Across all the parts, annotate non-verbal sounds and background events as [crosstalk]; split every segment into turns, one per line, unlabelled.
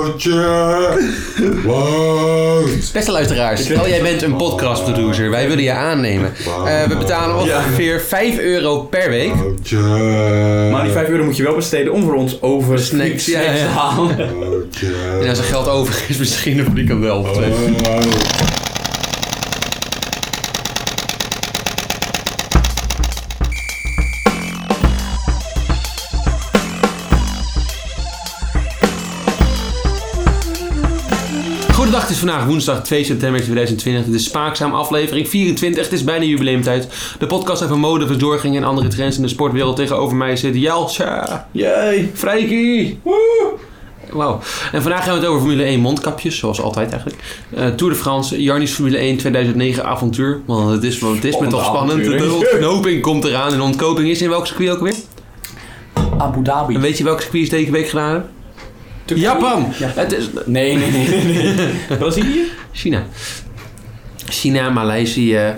Woutje! Wout!
Beste luisteraars, stel jij bent een podcastproducer. Wij willen je aannemen. Eh, we betalen ongeveer 5 euro per week.
Woutje!
Maar
Eh.
die 5 euro moet je wel besteden om voor ons over
Snacks, ja,
snacks
ja.
te halen.
Woutje!
En als er geld over is, [laughs] misschien een frikandel of twee.
Oh, Wout.
Goedendag, het is vandaag woensdag 2 september 2020. Het is Spaakzaam aflevering 24. Het is bijna jubileumtijd. De podcast over mode, verzorging en andere trends in de sportwereld. Tegenover mij zit Jalsja,
Jee.
Freiki. Wauw. En vandaag gaan we het over Formule 1 mondkapjes, zoals altijd eigenlijk. Eh, Tour de France, Jarnies Formule 1 2009 avontuur. Want het is, want het is me toch spannend.
Spannende
De
avontuur, hè?
ontknoping komt eraan. En de ontkoping is in welk circuit ook weer?
Abu Dhabi.
En weet je welke circuit is deze week gedaan? hebben?
Turkije?
Japan!
Ja.
Het is
Nee, nee, nee, nee. [laughs] nee. Brazilië?
China. China, Maleisië, eh,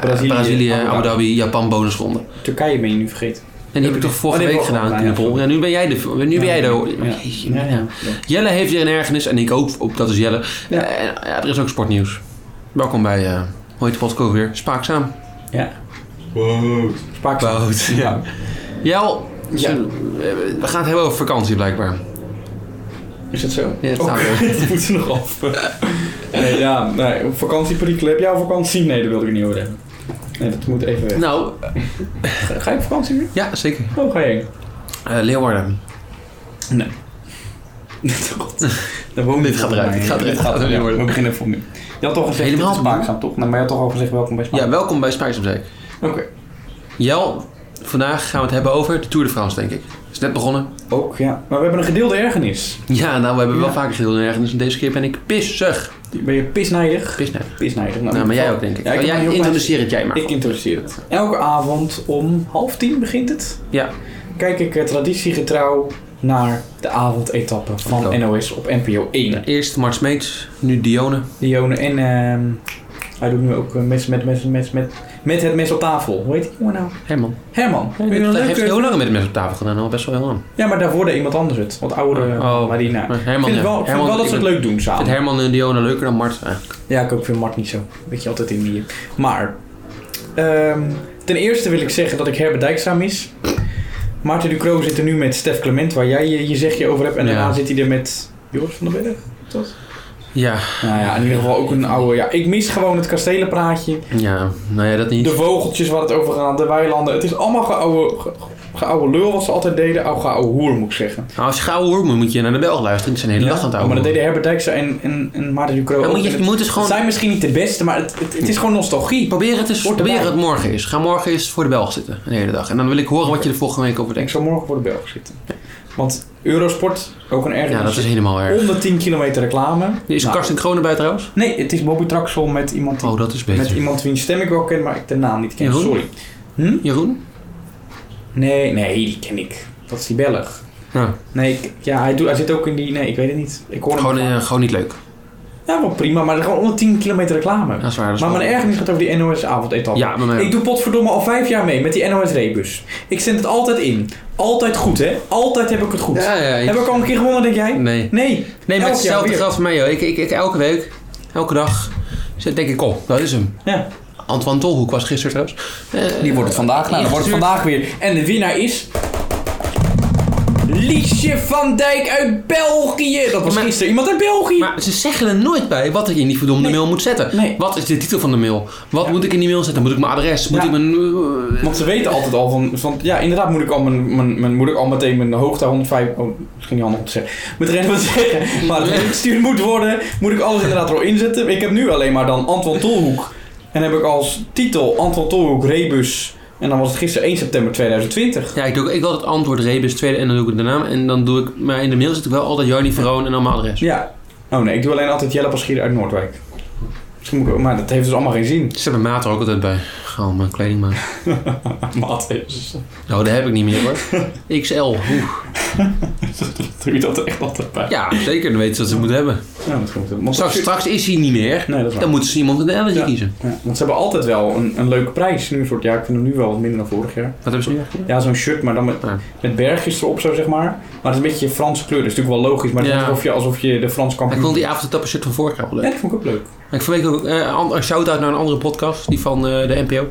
Brazilië,
Brazilië, Abu
Abu
Dhabi.
Dhabi, Japan bonusronde. En
Turkije ben je nu vergeten.
die heb ik toch vorige
Oh, nee,
week
we-
gedaan
ja,
in de poll.
ja.
Ja, nu ben jij de, nu ben jij de Jeetje,
Ja,
ja.
ja.
Jelle heeft weer een ergernis en ik ook, op, dat is Jelle.
Ja.
Eh, ja, er is ook sportnieuws. Welkom bij, eh hoe heet de podcast ook weer? Spaakzaam.
Ja.
Wout.
Spaak.
Wout, ja. Jel,
Ja.
eh, we gaan het hebben over vakantie blijkbaar.
Is dat zo?
Ja, het
Oh,
staat er.
[laughs] dat moet ze nog af. nee, ja, nee, vakantieperikelen. Heb jij al vakantie? Nee, dat wilde ik niet horen. Nee, dat moet even weg.
Nou,
Ga, ga je op vakantie nu?
ja, zeker.
Oh, ga je heen?
Eh, Leeuwarden.
Nee. [laughs] Dat woont
Dit gaat eruit, dit gaat eruit.
gaat
Ja,
eruit. We beginnen even opnieuw. Je had toch gezegd,
Helemaal
dit is
opnieuw?
Spaakzaam, toch? Nou, maar je had toch al gezegd, welkom bij
Ja,
Spaakzaam.
welkom bij Spaakzaam Zeker.
Oké.
Jel, vandaag gaan we het hebben over de Tour de France, denk ik. Is net begonnen.
Ook, ja. Maar we hebben een gedeelde ergernis.
Ja, nou, we hebben wel
Ja.
vaker gedeeld ergens. En deze keer ben ik pissig.
Ben je pisneidig?
Pisnet.
Pisneidig.
Nou, maar jij ook, denk ik.
Ja,
Oh,
ik heb
jij
een heel
introduceer het jij maar.
Ik introduceer het. Elke avond om half tien begint het.
Ja.
Kijk ik eh, traditiegetrouw naar de avondetappe van
Klopt.
NOS op NPO 1.
Eerst Mart Smeets, nu Dione.
Dione en ehm, hij doet nu ook eh, mes met, mes, mes, met, met het mes op tafel. Hoe heet die jongen nou?
Herman.
Herman.
Hij
Vind
heeft
je dat
hij
leuk? eh?
heeft heel lang met het mes op tafel gedaan, al best wel heel lang. Ik
Ja, maar daarvoor deed iemand anders het. Wat oude
Oh,
Marina.
maar Herman,
nou, ik vind,
ja.
het wel, ik vind
Herman,
wel dat ze
ik
het leuk doen samen.
vind Herman en Dione leuker dan Mart. eigenlijk.
Ja, ik ook vind Mart niet zo. Weet je, altijd in die... Maar, ehm, ten eerste wil ik zeggen dat ik Herbert Dijkstra mis. Maarten Ducro zit er nu met Stef Clement, waar jij je, je zegje over hebt. En
Ja.
daarna zit hij er met Joris van der Berg. is dat?
Ja,
Nou ja, in ieder geval ook een oude... Ja, ik mis gewoon het kastelenpraatje.
ja, nou ja, dat niet.
De vogeltjes waar het over gaat, de weilanden. Het is allemaal geouwe, ge, geouwe lul wat ze altijd deden. Oude geouwe hoer, moet ik zeggen.
Nou, als je gauw hoor, moet moet je naar de Belg luisteren. Het is een hele
Ja,
dag aan het oude.
Maar dat deden Herbert Dijkstra en, en, en Maarten Ducro
Maar
ook.
moet je,
En
je
het-
moet dus
het
gewoon...
zijn misschien niet de beste, maar het, het, het is gewoon nostalgie.
Probeer het, eens,
Hoort erbij.
probeer het morgen eens. Ga morgen eens voor de Belg zitten, de hele dag. En dan wil ik horen wat je er volgende week over
Ik
denkt.
zal morgen voor de Belg zitten. Want Eurosport, ook een ergernis.
Ja, dat is helemaal erg.
Onder 10 kilometer reclame.
Is
dus- Oh, Nou,
Karsten Kronen bij trouwens?
Nee, het is Bobby Traxel met iemand, die,
Oh, dat is
met
beter.
iemand wiens stem ik wel ken, maar ik de naam niet ken.
Jeroen?
Sorry. Hm?
Jeroen?
Nee, nee, die ken ik. Dat is die Belg.
Ja.
Nee, ik- ja, hij, doet, hij zit ook in die... Nee, ik weet het niet. Ik hoor hem
Gewoon,
niet.
eh, gewoon niet leuk.
Ja, wel prima, maar gewoon onder 10 kilometer reclame.
Dat is waar. Dat is
maar
wel-
mijn ergernis gaat over die NOS-avondetappe.
Ja, maar mijn...
Ik doe potverdomme al vijf jaar mee met die NOS-rebus. Ik zend het altijd in. Altijd goed, hè? Altijd heb ik het goed.
Ja, ja, ik-
Heb ik al een keer gewonnen, denk jij?
Nee.
Nee.
Nee, maar
Elk jaar
hetzelfde
weer.
geldt voor mij, joh. Ik, ik, ik- elke week, elke dag, zit- denk ik, oh, dat is hem.
Ja.
Antoine Tolhoek was gisteren trouwens. Eh,
Die wordt het vandaag. Nou, dan wordt het vandaag weer. En de winnaar is... Liesje van Dijk uit België. Dat was
Maar-
gisteren iemand uit België.
Maar ze zeggen er nooit bij wat ik in die verdomde
Nee.
mail moet zetten.
Nee.
Wat is de titel van de mail? Wat moet ik in die mail zetten? Moet ik mijn adres? Moet
Ja.
ik mijn... eh,
Want ze weten altijd al van, van ja, inderdaad moet ik al, mijn, mijn, mijn, moet ik al meteen mijn hoogte 105, oh, misschien niet handig om te zeggen, meteen wat zeggen, maar het ingestuurd moet worden, moet ik alles inderdaad er al inzetten. Ik heb nu alleen maar dan Anton Tolhoek en heb ik als titel Anton Tolhoek Rebus en dan was het gisteren 1 september 2020.
Ja, ik, doe, ook- ik wil het antwoord Rebus tweede en dan doe ik de naam. En dan doe ik... Maar in de mail zit ik wel altijd Jarny Veroon en dan mijn adres.
Ja, oh nee, ik doe [laughs] alleen altijd Jelle Paschier uit Noordwijk. Misschien moet ik ook- Maar dat heeft dus allemaal geen zin.
Zet mijn maat er ook altijd bij. Oh, mijn kledingmaat.
Maat is. [laughs]
Nou, dat heb ik niet meer hoor. XL. Oeh.
Doe je dat echt altijd bij?
Ja, zeker. Dan weten ze wat ze moeten hebben.
Ja, dat klopt. Want
Straks, straks is hij niet meer.
Nee, dat is waar.
Dan moeten ze iemand een elletje
Ja.
kiezen.
Ja, want ze hebben altijd wel een, een leuke prijs. Nu een soort, ja, ik vind hem nu wel wat minder dan vorig jaar.
Wat hebben ze nu eigenlijk?
Ja, zo'n shirt, maar dan met,
Ja.
met bergjes erop zo, zeg maar. Maar het is een beetje Franse kleur, dat is natuurlijk wel logisch. Maar het is
Ja.
alsof je, alsof je de Franse
Ik
kampioen...
vond die avondetappe shirt van vorig jaar wel
Ja,
leuk.
dat vond ik ook leuk.
Maar Ik verweek ook eh, an- een shout-out naar een andere podcast. Die van eh, de NPO.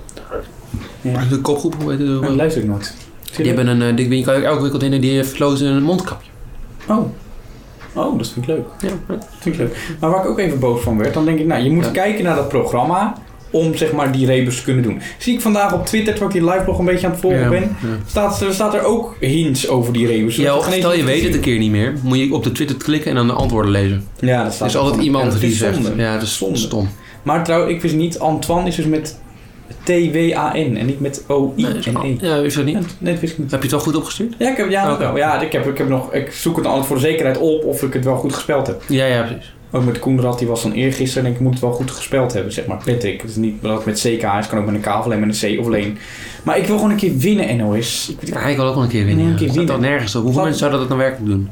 Ja.
De kopgroep, hoe heet het?
Maar dat luister ik nooit.
Die hebben een eh, dik je kan je ook elke week wat in en die heeft Kloos een mondkapje.
Oh. Oh, dat vind ik leuk.
Ja,
Dat vind ik leuk. Maar waar ik ook even boos van werd, dan denk ik, nou, je moet
Ja. kijken
kijken naar dat programma om zeg maar die rebus te kunnen doen. Zie ik vandaag op Twitter, terwijl ik die liveblog een beetje aan het volgen ben, staat, er staat er ook hints over die rebus.
Ja, of stel je weet het een keer niet meer, moet je op de Twitter klikken en dan de antwoorden lezen.
Ja, dat
Er
staat
is altijd
gewoon. Ja,
iemand
dat
die
is
zegt.
zonde.
Ja, dat is
Zonde.
stom.
Maar trouwens, ik wist niet, Antoine is dus met T-W-A-N en niet met
Nee, is-
O-I-N-E.
Ja, is dat niet?
Ja,
Heb
Nee, dat wist ik niet.
je het wel goed opgestuurd?
Ja, ik heb, ja, dat
Oké.
wel. ja ik, heb, ik, heb nog, ik zoek het altijd voor de zekerheid op of ik het wel goed gespeld heb.
Ja, ja, precies.
Ook met Koenrad, die was dan eergisteren en ik moet het wel goed gespeld hebben, zeg maar. Patrick, het is niet dat het met CK is, kan ook met een K of alleen met een C of alleen. Maar ik wil gewoon een keer winnen, NOS. Ik,
Ja, ik wil ook wel een keer winnen.
Ja,
Ja,
een keer
Dat
winnen.
dan nergens op. Hoeveel
Laat-
mensen zouden dat dan werkelijk doen?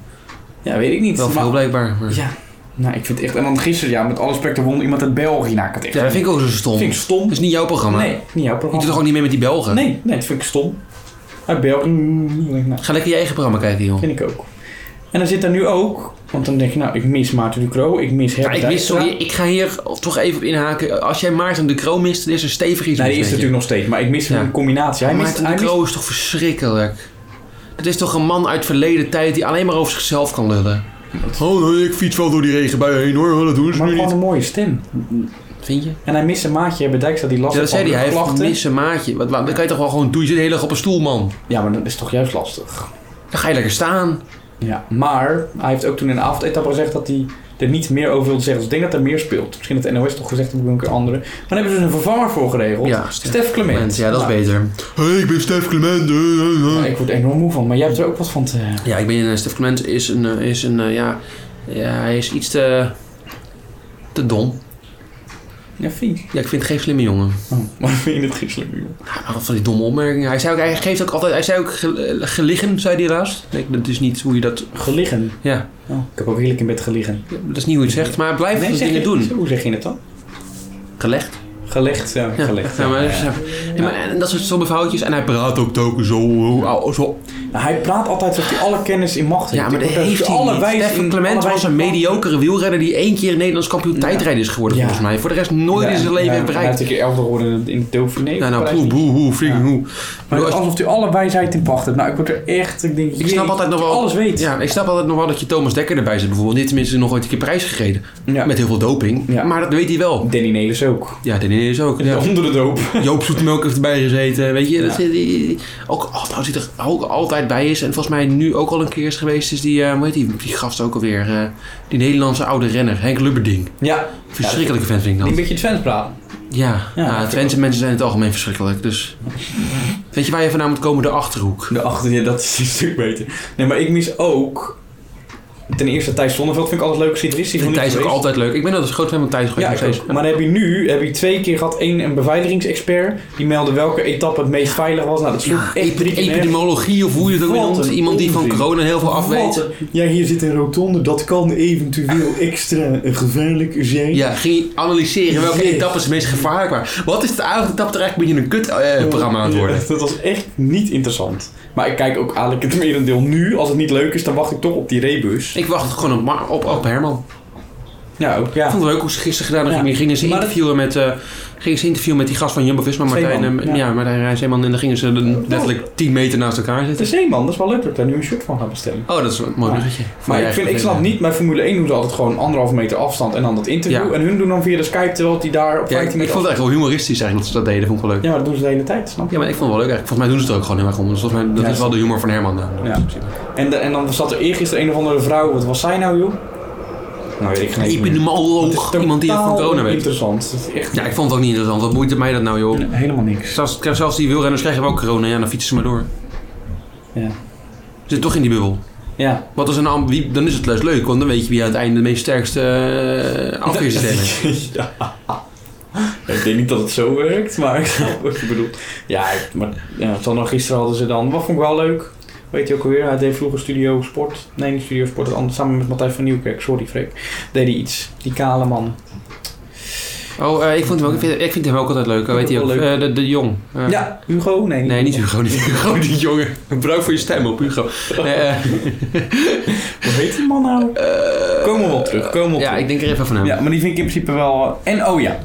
ja, weet ik niet.
Wel
maar-
veel blijkbaar. maar-
ja, nou, ik vind het echt... En dan gisteren, ja, met alle respect, er won iemand uit België. Nou, ik had echt...
Ja, dat vind ik ook zo stom.
vind ik
Dat
stom.
is niet jouw programma.
Nee, niet jouw
Je doet toch
programma.
ook niet mee met die Belgen?
Nee, nee, dat vind ik stom. Uit België, nou,
Ga lekker je eigen programma kijken, joh.
vind ik ook. En dan zit daar nu ook... Want dan denk je, nou, ik mis Maarten Ducro, ik mis
Ja,
Herbert
ik wist,
Dijkstra.
sorry, ik ga hier toch even op inhaken. Als jij Maarten de Kroo mist, dan is er stevig iets
Nee,
mis
die is
met je.
natuurlijk nog steeds, maar ik mis
Ja.
een combinatie. Hij mist,
Maarten
hij
de
mist
Kroo is toch verschrikkelijk? Dat is toch een man uit verleden tijd die alleen maar over zichzelf kan lullen? Oh, nee, ik fiets wel door die regenbui heen hoor, dat doen
maar gewoon een mooie stem.
Vind je?
En hij mist zijn maatje, hebben Dijkstra die last
Ja, dat
had
zei hij,
van
hij heeft een
klachten.
missen maatje. Wat, wat- dat kan je toch wel gewoon doen? Je zit de hele dag op een stoel, man.
Ja, maar dat is toch juist lastig.
Dan ga je lekker staan.
Ja. Maar hij heeft ook toen in de avondetappe gezegd dat hij er niet meer over wilde zeggen. Dus ik denk dat er meer speelt. Misschien had de NOS toch gezegd, dat een keer andere. Maar dan hebben ze dus een vervanger voor geregeld.
Ja,
Stef Clement.
Mensen, ja, dat is beter. hey, ik ben Stef Clement. eh, eh, eh.
Nou, ik word er enorm moe van, maar jij hebt er ook wat van te...
Ja, ik ben eh, Stef Clement is een, eh, is een eh, ja, ja, hij is iets te, te dom.
Ja, vind
Ja, ik vind het geen slimme jongen. [laughs]
Oh, maar vind je het griezelig, joh.
Hij maakt van die domme opmerkingen. Hij zei ook, hij geeft ook altijd, hij zei ook gel- gelegen, zei hij laatst. Ik denk, dat is niet hoe je dat,
Geliggen.
ja,
Oh, ik heb ook heerlijk in bed gelegen.
dat is niet hoe je het zegt. Maar hij blijft dat
zeg
dingen
je-
doen.
Hoe zeg je het dan?
Gelegd.
Gelegd, ja.
Ja,
gelegd.
ja, maar,
ja,
dat is-
ja.
ja, maar- en dat soort stomme foutjes. En hij praat ook telkens zo, oh, zo.
Nou, hij praat altijd alsof hij alle kennis in macht heeft.
Ja, maar
Ik
dat
word daar
heeft
dus
hij
alle
niet.
wijze
Stef
in-
Clement
alle
was
wijze
een
in macht.
mediocre wielrenner die één keer Nederlands kampioen tijdrijder is geworden,
Ja.
volgens mij. Voor de rest nooit
Ja,
in zijn leven
ja,
heeft
Hij
bereikt.
heeft een keer elfde geworden in- in Dauphiné.
Nou, nou,
Parijs
poe,
niet.
boe, hoe, frik,
Ja.
hoe.
Maar
Bedoel, als-
alsof hij alle wijsheid in pacht heeft. Nou, ik word er echt... Ik, denk,
Ik snap
jee,
altijd nog wel...
alles weet.
Ja, ik snap altijd nog wel dat je Thomas Dekker erbij zit bijvoorbeeld. Dit tenminste nog ooit een keer prijs gereden.
Ja.
Met heel veel doping.
Ja.
Maar dat weet hij wel.
Danny Nelis ook.
Ja, Denis is ook. Ja.
[laughs] Onder de doop.
Joop Zoetemelk heeft erbij gezeten. Weet je, dat,
Ja.
die- die- ook, oh, trouwens, die er ook altijd bij is. En volgens mij nu ook al een keer is geweest. Is die, eh hoe heet die, die gast ook alweer? eh, die Nederlandse oude renner, Henk Lubberding.
Ja.
Verschrikkelijke vent vind ik
Die een
dat.
beetje het Twents praten.
Ja,
Ja,
ja,
dat vind
Twentse mensen zijn in het algemeen verschrikkelijk.
[laughs]
Dus weet je waar je vandaan moet komen? De Achterhoek.
De achter, ja, dat is een stuk beter. Nee, maar ik mis ook... Ten eerste Thijs Zonneveld vind ik altijd leuk. Citrus
Ik
is nog
vind
niet
Thijs ook
geweest.
altijd leuk. Ik ben altijd een groot fan van Thijs
Ja,
geweest.
ik
nog steeds.
ook. Maar dan heb je nu heb je twee keer gehad. één een beveiligingsexpert. Die meldde welke etappe het meest veilig was. Nou, dat sloeg
Ja,
echt drie
epi-
keer nergens
epidemiologie of hoe je het ook
Wat
noemt.
een
Iemand die van
onzin.
corona heel veel af weet.
Wat?
Ja, hier zit een rotonde. Dat kan eventueel extra gevaarlijk zijn.
Ja, ging analyseren welke
Jezus.
etappes het meest gevaarlijk waren. Wat is de avond etappe er eigenlijk een beetje een kut eh, programma aan het worden?
Ja, dat was echt niet interessant. Maar ik kijk ook eigenlijk het merendeel nu. Als het niet leuk is, dan wacht ik toch op die rebus.
Ik wacht gewoon op, Ma- op, op Herman.
Ja, ook
Ik
ja.
vond het leuk hoe ze gisteren gedaan hebben.
Ja.
Gingen ze
Maar dat-
interviewen met, eh, gingen ze interviewen met die gast van Jumbo-Visma, Martijn,
Zeeman,
eh,
ja.
ja. Martijn Rijsseeman. En dan gingen ze dan letterlijk 10 meter naast elkaar
De
zitten.
Zeeman, dat is wel leuk dat ik daar nu een shirt van ga bestellen.
Oh, dat is een mooi
Ja.
bruggetje.
Maar ik, vind, ik snap
eh,
niet, bij Formule 1 doen ze altijd gewoon anderhalve meter afstand en dan dat interview.
Ja.
En hun doen dan via de Skype, terwijl die daar op
Ja,
15
ik, ik
meter
vond het
afstand-
eigenlijk wel humoristisch eigenlijk dat ze dat deden. Vond ik wel leuk.
Ja, maar dat doen ze de hele tijd, snap je?
Ja, maar ik vond het wel leuk eigenlijk. Volgens mij doen ze het er ook gewoon heel erg om. Dus volgens mij, dat
Ja,
is wel de humor van Herman. namelijk.
Ja. En, de- en dan zat er eergisteren een of andere vrouw, wat was zij nou joh? Nou weet ik geen eens meer. Het is
Epidemioloog. Iemand die het van
totaal
corona weet.
Interessant, dat is echt
Ja, ik vond het ook niet interessant. Wat boeit het mij dat nou, joh?
helemaal niks.
Zelfs, zelfs die wielrenners krijgen ook corona. Ja, dan fietsen ze maar door.
Ja.
Zit toch in die bubbel.
Ja,
Wat is een am- wie, dan is het juist leuk, want dan eh, [laughs]
[laughs]
weet je wie aan het einde de meest sterkste uh, afweersysteem heeft.
ja. Ik denk niet dat het zo werkt, maar ik snap wat je bedoelt. Ja, ik- maar ja, dan nog gisteren hadden ze dan... Wat vond ik wel leuk? Weet je ook alweer? Hij deed vroeger Studio Sport. Nee, niet Studio Sport. het andere- Samen met Matthijs van Nieuwkerk. Sorry, Freek. Deed hij iets. Die kale man.
Oh, eh, ik, vond hem ook, ik, vind, ik vind hem ook altijd leuk. Hoe
Ik
Weet
ook
je,
wel leuk.
de, de Jong. Eh,
Ja, Hugo? Nee,
Nee, niet Hugo, niet
[laughs]
Hugo, die jongen. Bedankt voor je stem op Hugo. Nee, eh,
Hoe heet die man nou? Komen we op terug. Komen we op
ja,
terug.
ik denk er even van hem.
Ja, maar die vind ik in principe wel... En oh ja,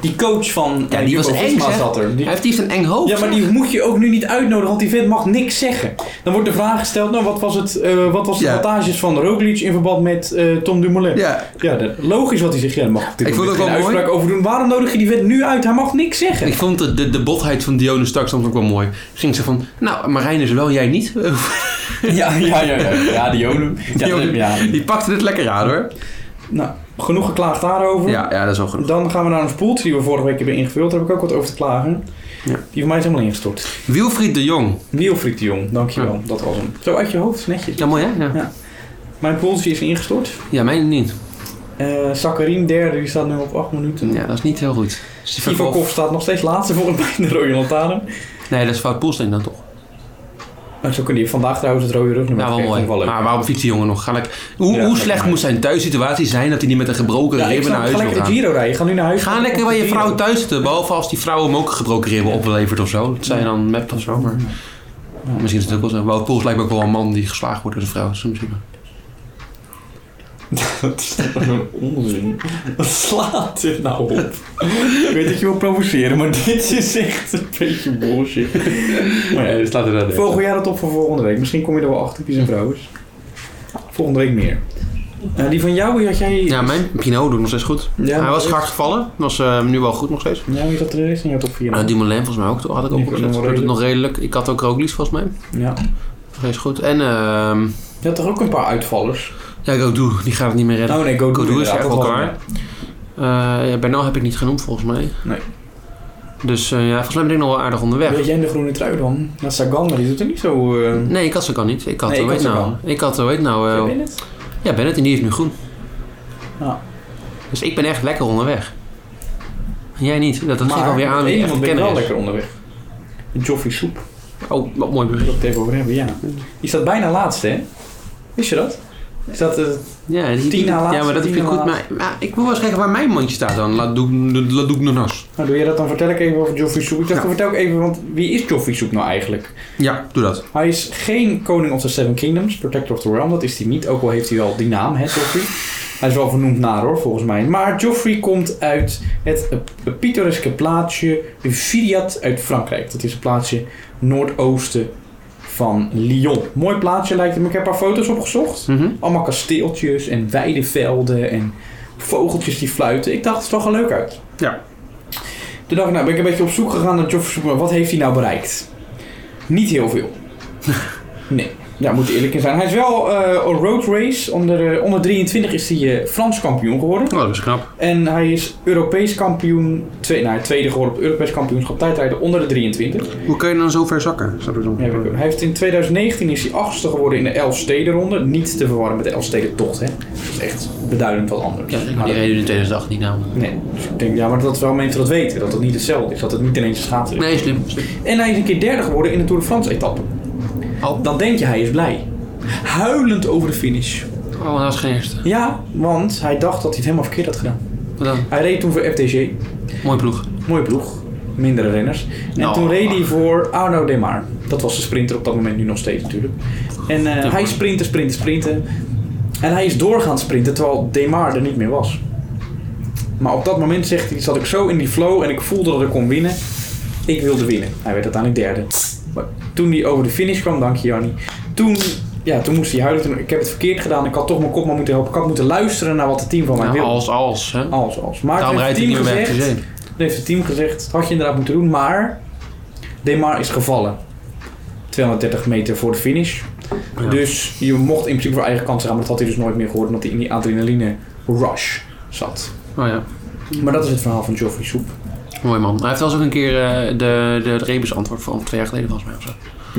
die coach van...
Ja,
eh,
die was
Jumbo
eng,
Visma
hè?
zat er. Die-
Hij heeft iets een eng hoofd.
Ja, maar die moet je ook nu niet uitnodigen, want die vent mag niks zeggen. Dan wordt de vraag gesteld, nou, wat was, het, eh, wat was de
Ja.
wattages van Roglic in verband met eh, Tom Dumoulin? Ja,
Ja.
dat- logisch wat hij zegt. Ja, daar mag ik natuurlijk
Ik vond het
geen
ook wel mooi.
uitspraak over doen. Waarom nodig je die vent nu uit? Hij mag niks zeggen.
[laughs] Ik vond de, de, de botheid van Dionne straks soms ook wel mooi. Ging ze van, nou, Marijn is er wel, jij niet. [laughs]
Ja, ja, ja. Ja, ja die Jolen. Ja,
Jolen.
ja.
Die pakte het lekker aan, hoor.
Nou, genoeg geklaagd daarover.
Ja, ja dat is wel genoeg.
Dan gaan we naar een spoeltje die we vorige week hebben ingevuld. Daar heb ik ook wat over te klagen.
Ja.
Die van mij is helemaal ingestort.
Wilfried de Jong.
Wilfried de Jong, dankjewel. Dat was hem. Zo uit je hoofd, netjes.
Ja, mooi hè? Ja,
Ja. Mijn poeltje is ingestort.
ja mijn niet.
Eh Sakharin derde, die staat nu op 8 minuten.
Ja, dat is niet heel goed. Sivakov.
Sivakov staat nog steeds laatste voor mij in de rode lantaarn.
Nee, dat is Fout Poelsteen dan toch?
Maar zo kunnen die vandaag trouwens het rode rugnummer
Ja, Nou, wel
krijgen,
mooi.
vond ik leuk.
Maar waarom fietst die jongen nog? Ga lekker- Hoe,
Ja,
hoe
lekker
slecht
maar.
moet zijn thuissituatie zijn dat hij niet met een gebroken
ja, ik
ribben
snap,
naar huis
ga
wil
lekker de
gaan?
Giro rijden. Ga nu naar huis.
Ga lekker bij je
De
[laughs]
Giro.
vrouw thuis zitten. Behalve als die vrouw hem ook een gebroken ribben oplevert of zo. Dat zijn dan mept of zo. Maar misschien is het ook wel zo. Wout Poels lijkt me ook wel een man die geslagen wordt door een vrouw. Soms wel.
Dat is toch een onzin. Wat slaat dit nou op? ik weet dat je wil provoceren, maar dit is echt een beetje bullshit. maar ja,
staat er wel
vogel jij dat op voor volgende week. Misschien kom je er wel achter, pies en vrouwens. Volgende week meer. Eh, die van jou, die had jij...
Ja, mijn Pinot doet nog steeds goed.
Ja,
Hij was
maar-
hard gevallen. Was eh, nu wel goed nog steeds.
Ja, wie zat er eerst in jouw top 4?
Nou, Dumoulin volgens mij ook. Had ik
Die
ook
vond ik
opgezet.
nog
Doet het nog redelijk. Ik had ook Roglic volgens mij.
Ja.
Nog eens goed. En ehm
Je had er ook een paar uitvallers.
ja, Godou. Die gaat het niet meer redden.
Oh nee, Godou
Godou is
inderdaad,
echt
dat
wel
was
klaar. Eh, ja, Bernal heb ik niet genoemd volgens mij.
Nou. Nee.
Dus eh, ja, volgens mij ben ik nog wel aardig onderweg.
Weet jij in de groene trui dan? Dat Sagan, maar die doet er niet zo... eh,
Nee, ik had ze kan niet. Ik had,
Nee,
eh,
ik
weet
had ze
nou. Ik had, eh, weet nou. eh,
jij bent het?
ja, Bennett en die heeft nu groen.
Ja.
Dus ik ben echt lekker onderweg. En jij niet. Dat, dat
Maar
geeft alweer aan wie
één
echt
iemand ben ik
kenner
wel
is.
lekker onderweg. Joffrey Soep, daar
Oh, wat mooi
wil
bericht.
ik het even over hebben, ja. Die staat bijna laatste, hè? Wist je dat? Die staat... eh,
Ja, die,
Tien na
ja,
laatste,
maar dat
tien
vind ik
na
goed. Maar, maar ik wil wel eens kijken waar mijn mandje staat dan. Laat doen, laat doen nog nas.
nou, doe je dat dan? Vertel ik even over Joffrey Soep. Ik dacht,
Ja.
vertel ik even, want wie is Joffrey Soep nou eigenlijk?
Ja, doe dat.
Hij is geen koning of the Seven Kingdoms, Protector of the Realm, dat is hij niet. Ook al heeft hij wel die naam, hè, Joffrey. Hij is wel vernoemd naar hoor, volgens mij. Maar Joffrey komt uit het eh, pittoreske plaatsje Viriat uit Frankrijk. Dat is een plaatsje noordoosten van Lyon. Mooi plaatsje lijkt het me. Ik heb een paar foto's opgezocht.
Mhm.
Allemaal kasteeltjes en weidevelden en vogeltjes die fluiten. Ik dacht, het zag er leuk uit.
Ja.
Toen dacht ik, nou ben ik een beetje op zoek gegaan naar Joffrey Soepman. Wat heeft hij nou bereikt? Niet heel
[laughs]
veel. nee, daar moet ik eerlijk in zijn. Hij is wel eh, een road race. Onder, eh, onder 23 is hij eh, Frans kampioen geworden.
Oh, dat is knap.
En hij is Europees kampioen, twee, nou, tweede geworden op het Europees kampioenschap tijdrijden onder de 23.
Hoe kun je dan zo ver zakken? Snap je dan?
Ja, heb ik hem. Hij heeft in 2019 is hij achtste geworden in de Elfstedenronde. Niet te verwarren met de Elfstedentocht, hè. Dat is echt beduidend wat anders.
Ja, maar
Maar
die
dat-
reden in 2018 namelijk.
nee, dus ik denk, ja, maar dat wel mensen dat weten. Dat het niet hetzelfde is. Dat het niet ineens schaatsen is.
Nee, slim.
En hij is een keer derde geworden in de Tour de France etappe.
Oh,
Dan denk je, hij is blij. Huilend over de finish.
oh dat was geen eerste.
Ja, want hij dacht dat hij het helemaal verkeerd had gedaan.
Wat dan?
Hij reed toen voor FTG.
Mooi ploeg.
Mooie ploeg. Mindere renners. En
Nou.
toen reed hij voor Arno Demar. Dat was de sprinter op dat moment, nu nog steeds natuurlijk. En eh, hij sprintte, sprintte, sprintte. En hij is doorgaan sprinten, terwijl Demar er niet meer was. Maar op dat moment zegt hij, zat ik zo in die flow en ik voelde dat ik kon winnen. Ik wilde winnen. Hij werd uiteindelijk derde. Maar toen hij over de finish kwam, dank je Jannie. Toen, ja, toen moest hij huilen. Toen, ik heb het verkeerd gedaan. Ik had toch mijn kopman moeten helpen. Ik had moeten luisteren naar wat het team van mij
Nou,
wilde.
als, als. Hè?
Als, als. Maar
Daarom
toen heeft
rijdt hij
het
niet meer
team
bij
gezegd...
FTG.
Dan heeft het team gezegd, had je inderdaad moeten doen, maar Demar is gevallen. 230 meter voor de finish.
Ja.
Dus je mocht in principe voor eigen kans gaan, maar dat had hij dus nooit meer gehoord, omdat hij in die adrenaline rush zat.
Oh ja,
Maar dat is het verhaal van Geoffrey Soep.
mooi man. Hij heeft wel eens ook een keer eh, de, de, de Rebus antwoord van twee jaar geleden volgens mij of zo.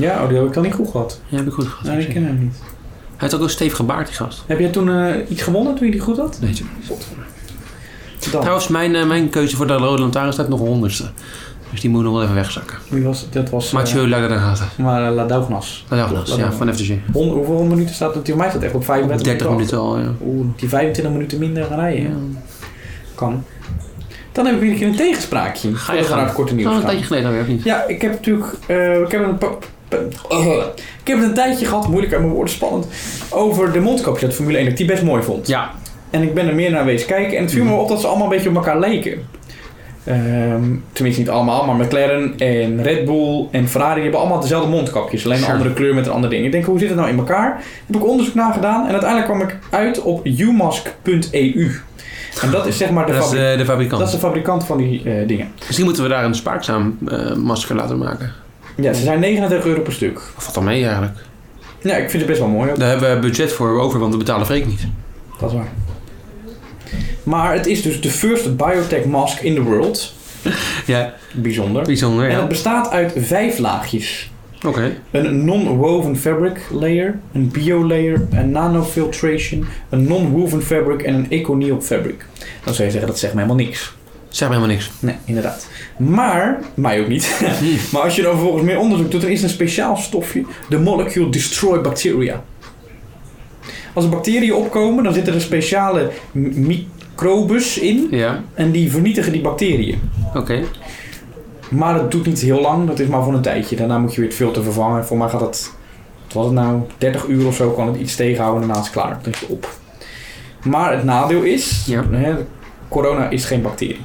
Ja, oh, die heb ik dan niet goed gehad.
Ja, heb ik goed gehad.
Nee,
hij
ik ken hem niet.
heeft ook een stevig gebaard, die gast.
Heb jij toen eh, iets gewonnen toen je die goed had?
Nee,
Zot.
Amsterdam.
Trouwens, mijn, eh, mijn keuze voor de Rode Lantaarn staat nog honderdste. Dus die moet nog wel even wegzakken.
Wie was, dat was... eh,
Mathieu Lagarde.
maar eh, La Daugnas.
Lagarde, ja, van FDG.
Hon- hoeveel minuten staat het? Voor mij staat echt op 35
30 minuten al, ja.
Oeh, die 25 minuten minder gaan rijden.
Ja.
Kan. Dan heb ik weer een keer een tegenspraakje.
Ga je
Voordat we naar
gaan.
het korte
Al
nieuws
een
gaan.
tijdje geleden alweer, of niet?
Ja, ik heb natuurlijk. eh, ik, heb een pa- pa- eh, ik heb het een tijdje gehad, moeilijk uit mijn woorden, spannend. Over de mondkapjes uit Formule 1, dat ik die best mooi vond.
Ja.
En ik ben er meer naar wezen kijken. En het viel me
Mm.
op dat ze allemaal een beetje op elkaar leken. Ehm, tenminste, niet allemaal, maar McLaren en Red Bull en Ferrari hebben allemaal dezelfde mondkapjes. Alleen een
Sure.
andere kleur met een ander ding. Ik denk, hoe zit het nou in elkaar? Daar heb ik onderzoek naar gedaan en uiteindelijk kwam ik uit op umask.eu. En dat is zeg maar de,
Dat is
fabri-
eh, de
dat is
fabrikant.
de fabrikant van die eh, dingen.
Misschien moeten we daar een spaakzaam eh, masker laten maken.
Ja, ze zijn 39 euro per stuk.
Of valt dan mee eigenlijk?
Ja, ik vind het best wel mooi. ook.
Daar hebben we budget voor over, want we betalen Freek niet.
Dat is waar. Maar het is dus de first biotech mask in the world.
Ja,
Bijzonder.
bijzonder,
En het
ja.
bestaat uit vijf laagjes.
Oké.
Een non-woven fabric layer, een bio layer, een nanofiltration, een non-woven fabric en een econiel fabric. Dan zou je zeggen, dat zegt me helemaal niks.
Zeg me helemaal niks.
Nee, inderdaad. Maar, mij ook niet. [laughs] maar als je dan vervolgens meer onderzoek doet, dan is er een speciaal stofje, de molecule destroy bacteria. Als er bacteriën opkomen, dan zitten er speciale m- microbes in
Ja,
en die vernietigen die bacteriën.
oké.
Maar dat doet niet heel lang, dat is maar voor een tijdje. Daarna moet je weer het filter vervangen. Voor mij gaat dat, wat was het nou, 30 uur of zo kan het iets tegenhouden en daarna is het klaar. Dan is het op. Maar het nadeel is,
Ja.
hè, corona is geen bacterie.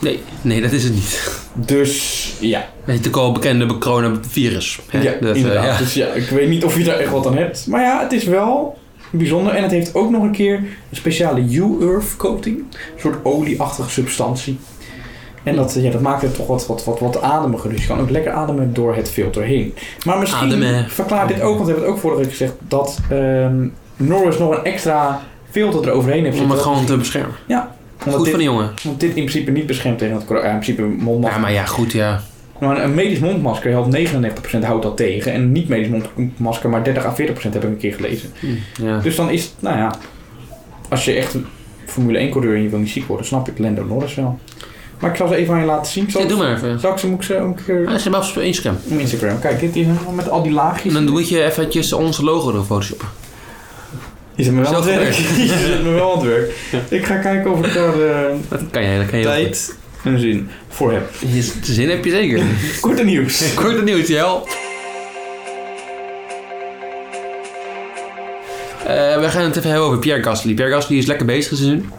Nee, nee, dat is het [laughs] niet.
Dus ja,
Het is natuurlijk al bekende coronavirus. hè?
Ja,
dat, eh,
inderdaad.
ja.
Dus ja, ik weet niet of je daar echt wat aan hebt. Maar ja, het is wel bijzonder. En het heeft ook nog een keer een speciale U-Earth coating. Een soort olieachtige substantie. En dat, eh, ja, dat maakt het toch wat, wat, wat, wat ademiger. Dus je kan ook lekker ademen door het filter heen. Maar misschien
Ademen.
verklaart dit ook, want we hebben het ook vorige keer gezegd, dat ehm, Norris nog een extra filter eroverheen heeft
Om het
zitten.
gewoon te beschermen.
Omdat
Goed
dit,
van die jongen.
want dit in principe niet beschermt tegen het corona. Ja, in principe mondmasker.
Ja, maar ja, goed, ja.
Maar een medisch mondmasker helpt 99% houdt dat tegen. En een niet-medisch mondmasker maar 30 à 40% heb ik een keer gelezen.
Hm, Ja.
Dus dan is het, nou ja... Als je echt een Formule 1 coureur en je wil niet ziek worden, snap ik Lando Norris wel. Maar ik zal ze even aan je laten zien. Zal,
Ja,
ik-
doe maar even.
zal ik ze, moet ik ze ook een keer
Ah, zet hem af op Instagram.
op Instagram. Kijk, dit is helemaal met al die laagjes.
En dan moet je eventjes ons logo erop photoshoppen.
Je zit me wel aan
Zelf
het werk.
gewerkt.
[laughs] Je zit me wel aan het werk. Ik ga kijken of ik daar de
Dat kan jij, dat kan je heel goed.
tijd en zin voor heb.
Je zin heb je zeker.
[laughs] Korte nieuws.
Korte nieuws, Jel. Eh we gaan het even hebben over Pierre Gasly. Pierre Gasly is lekker bezig dit seizoen.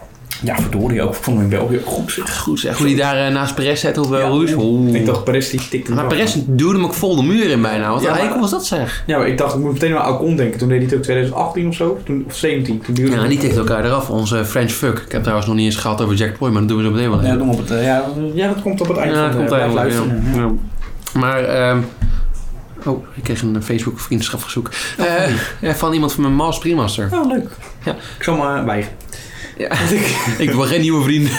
Ja, verdorie ook. Ik vond hem in België ook goed. zeg.
Goed zeg. Hoe die daar eh, naast Perez zet op uh,
Ja.
Rouge. Oeh.
Ik dacht, Perez die tikte hem
Maar
wel.
Perez duwde hem ook vol de muur in bijna. Wat
Ja,
een
maar-
eikel was dat zeg.
Ja, maar ik dacht, ik moet meteen aan Ocon denken. Toen deed hij het ook 2018 of zo, toen, of 17. Toen duurde
Ja,
het-
die tikt elkaar eraf. Onze French fuck. Ik heb trouwens nog niet eens gehad over Jack Ploy, maar dat doen we zo meteen wel even.
Ja, dan op het, eh, ja, ja, dat komt op het eind
Ja,
van
dat komt
eh, blijf
eigenlijk,
luisteren.
ja. Ja. Maar, ehm, oh, ik kreeg een Facebook vriendschapverzoek.
Oh,
Eh, eh, van iemand van mijn Mars Primaster.
Ja. Oh, leuk.
Ja.
Ik zal maar weigeren. [laughs]
Ja. [laughs] ik wil geen nieuwe vrienden.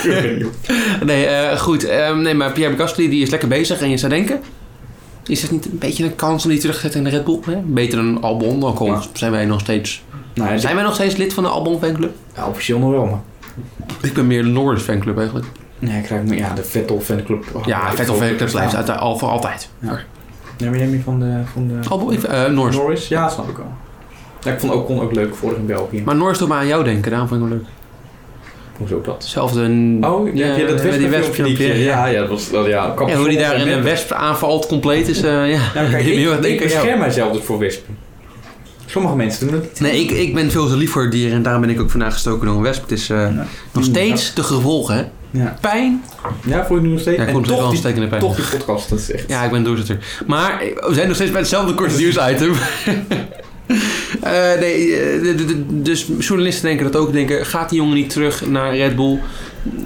[laughs] Nee, eh, goed. Ehm, nee, maar Pierre Gasly die is lekker bezig. En je zou denken, is dat niet een beetje een kans om die terug te zetten in de Red Bull? Hè? Beter dan Albon, ook al
Ja.
zijn wij nog steeds...
nou, ja,
Zijn wij nog steeds lid van de Albon fanclub?
ja, officieel nog wel, maar...
Ik ben meer de Norris fanclub eigenlijk.
Nee, ik krijg me... Ja, de Vettel fanclub. Oh,
ja,
ik
Vettel
wil-
fanclub blijft
Ja.
uit, al voor altijd.
Ja. Ja, maar jij meer van de... Van de
Albon, ik, eh, Norris.
Norris? Ja, dat snap ik wel. Ja, ik vond Ocon ook leuk, vorig in België.
Maar Norris doet me aan jou denken, daarom vond ik hem leuk.
Hoezo dat?
Hetzelfde...
Oh, ja, ja, dat
met die
wespenfilmpje die ik-
wespenfilmpje, ja.
Ja, ja, dat was... dat- Ja,
Ja, hoe die daar in een wesp aanvalt compleet is... eh, ja.
Ja, maar Nou,
[laughs]
kijk,
Die
ik,
heel erg
ik
denken aan jou.
bescherm mijzelf dus voor wespen. Sommige mensen doen dat niet.
Nee, ik, ik ben veel te lief voor dieren en daarom ben ik ook vandaag gestoken door een wesp. Het is eh, nog steeds de gevolgen, hè?
Ja.
Pijn.
Ja, voel je nu nog steeds?
Ja, ik
en
vond het wel
toch
een
die,
stekende pijn.
toch die podcast, dat is echt...
Ja, ik ben doorzitter. Maar eh, we zijn nog steeds bij hetzelfde
[laughs]
korte nieuwsitem. [laughs] Eh nee, eh, de- de- de- dus journalisten denken dat ook. Denken, gaat die jongen niet terug naar Red Bull?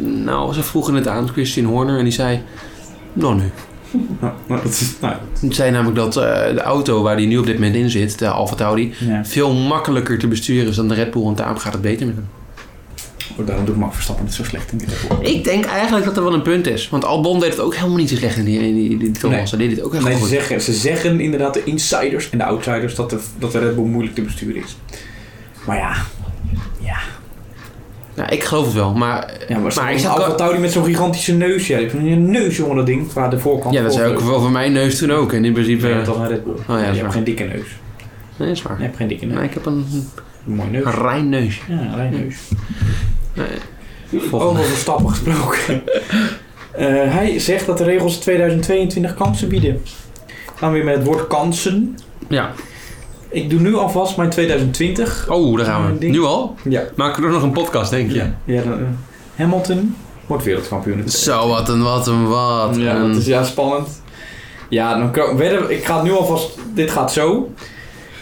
Nou, ze vroegen het aan Christian Horner en die zei... Nou nu.
Nou, dat is... Nou,
Die zei namelijk dat eh, de auto waar die nu op dit moment in zit, de Alfa Tauri...
ja.
veel makkelijker te besturen is dan de Red Bull. Want daarom gaat het beter met hem.
Oh, daarom doet Mark Verstappen het zo slecht in dit geval.
Ik denk eigenlijk dat er wel een punt is. Want Albon deed het ook helemaal niet zo slecht in die, in die, die, die Thomas. Hij deed het ook helemaal
Nee, ze
goed.
zeggen, ze zeggen inderdaad de insiders en de outsiders dat de, dat de Red Bull moeilijk te besturen is. Maar ja, ja.
Ja, Nou, ik geloof het wel, maar...
Ja, maar,
Maar
maar
ik
ik
zag
Alfa
ook-
Tauri met zo'n gigantische neus. Ja, een neus jongen dat ding, qua de voorkant.
Ja, dat zei ook wel voor mijn neus toen ook. En in principe...
Nee, toch een Red Bull.
ja, dat is
je
waar.
hebt geen dikke neus.
Nee, dat is waar.
Je hebt geen dikke neus.
Nee, ik heb een,
Een mooie neus.
een rein neus.
Ja, een rij neus.
Nee.
Over onze stappen gesproken. [laughs] Eh, hij zegt dat de regels 2022 kansen bieden. Gaan we weer met het woord kansen.
Ja.
Ik doe nu alvast mijn 2020.
Oh, daar gaan
Een
we.
ding.
Nu al?
Ja.
Maken we er nog een podcast, denk je?
ja dan, eh, Hamilton wordt wereldkampioen.
Zo, wat een wat een wat.
Ja,
een-
dat is ja spannend. Ja, dan kan, wedden, we- ik ga het nu alvast. Dit gaat zo.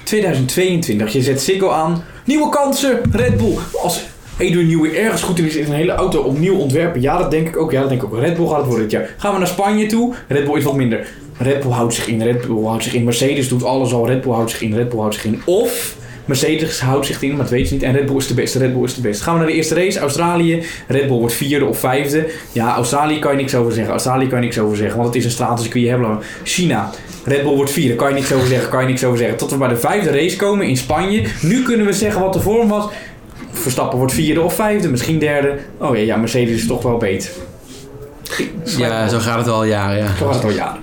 2022, je zet Ziggo aan. Nieuwe kansen, Red Bull. Als Edu Nieuwe ergens goed in is, is een hele auto opnieuw ontwerpen. Ja, dat denk ik ook. Ja, dat denk ik ook. Red Bull gaat het worden dit jaar. Gaan we naar Spanje toe? Red Bull is wat minder. Red Bull houdt zich in, Red Bull houdt zich in. Mercedes doet alles al. Red Bull houdt zich in, Red Bull houdt zich in. Of Mercedes houdt zich in, maar dat weet je niet. En Red Bull is de beste, Red Bull is de beste. Gaan we naar de eerste race, Australië. Red Bull wordt vierde of vijfde. Ja, Australië kan je niks over zeggen. Australië kan je niks over zeggen, want het is een stratencircuit. Hebben we. China. Red Bull wordt vierde. Kan je niks over zeggen, kan je niks over zeggen. Tot we bij de vijfde race komen in Spanje. Nu kunnen we zeggen wat de vorm was. Verstappen wordt vierde of vijfde, misschien derde. Oh ja, ja Mercedes is toch wel beter. Ik-
ja, zo gaat het al jaren, ja.
Zo was het al jaren.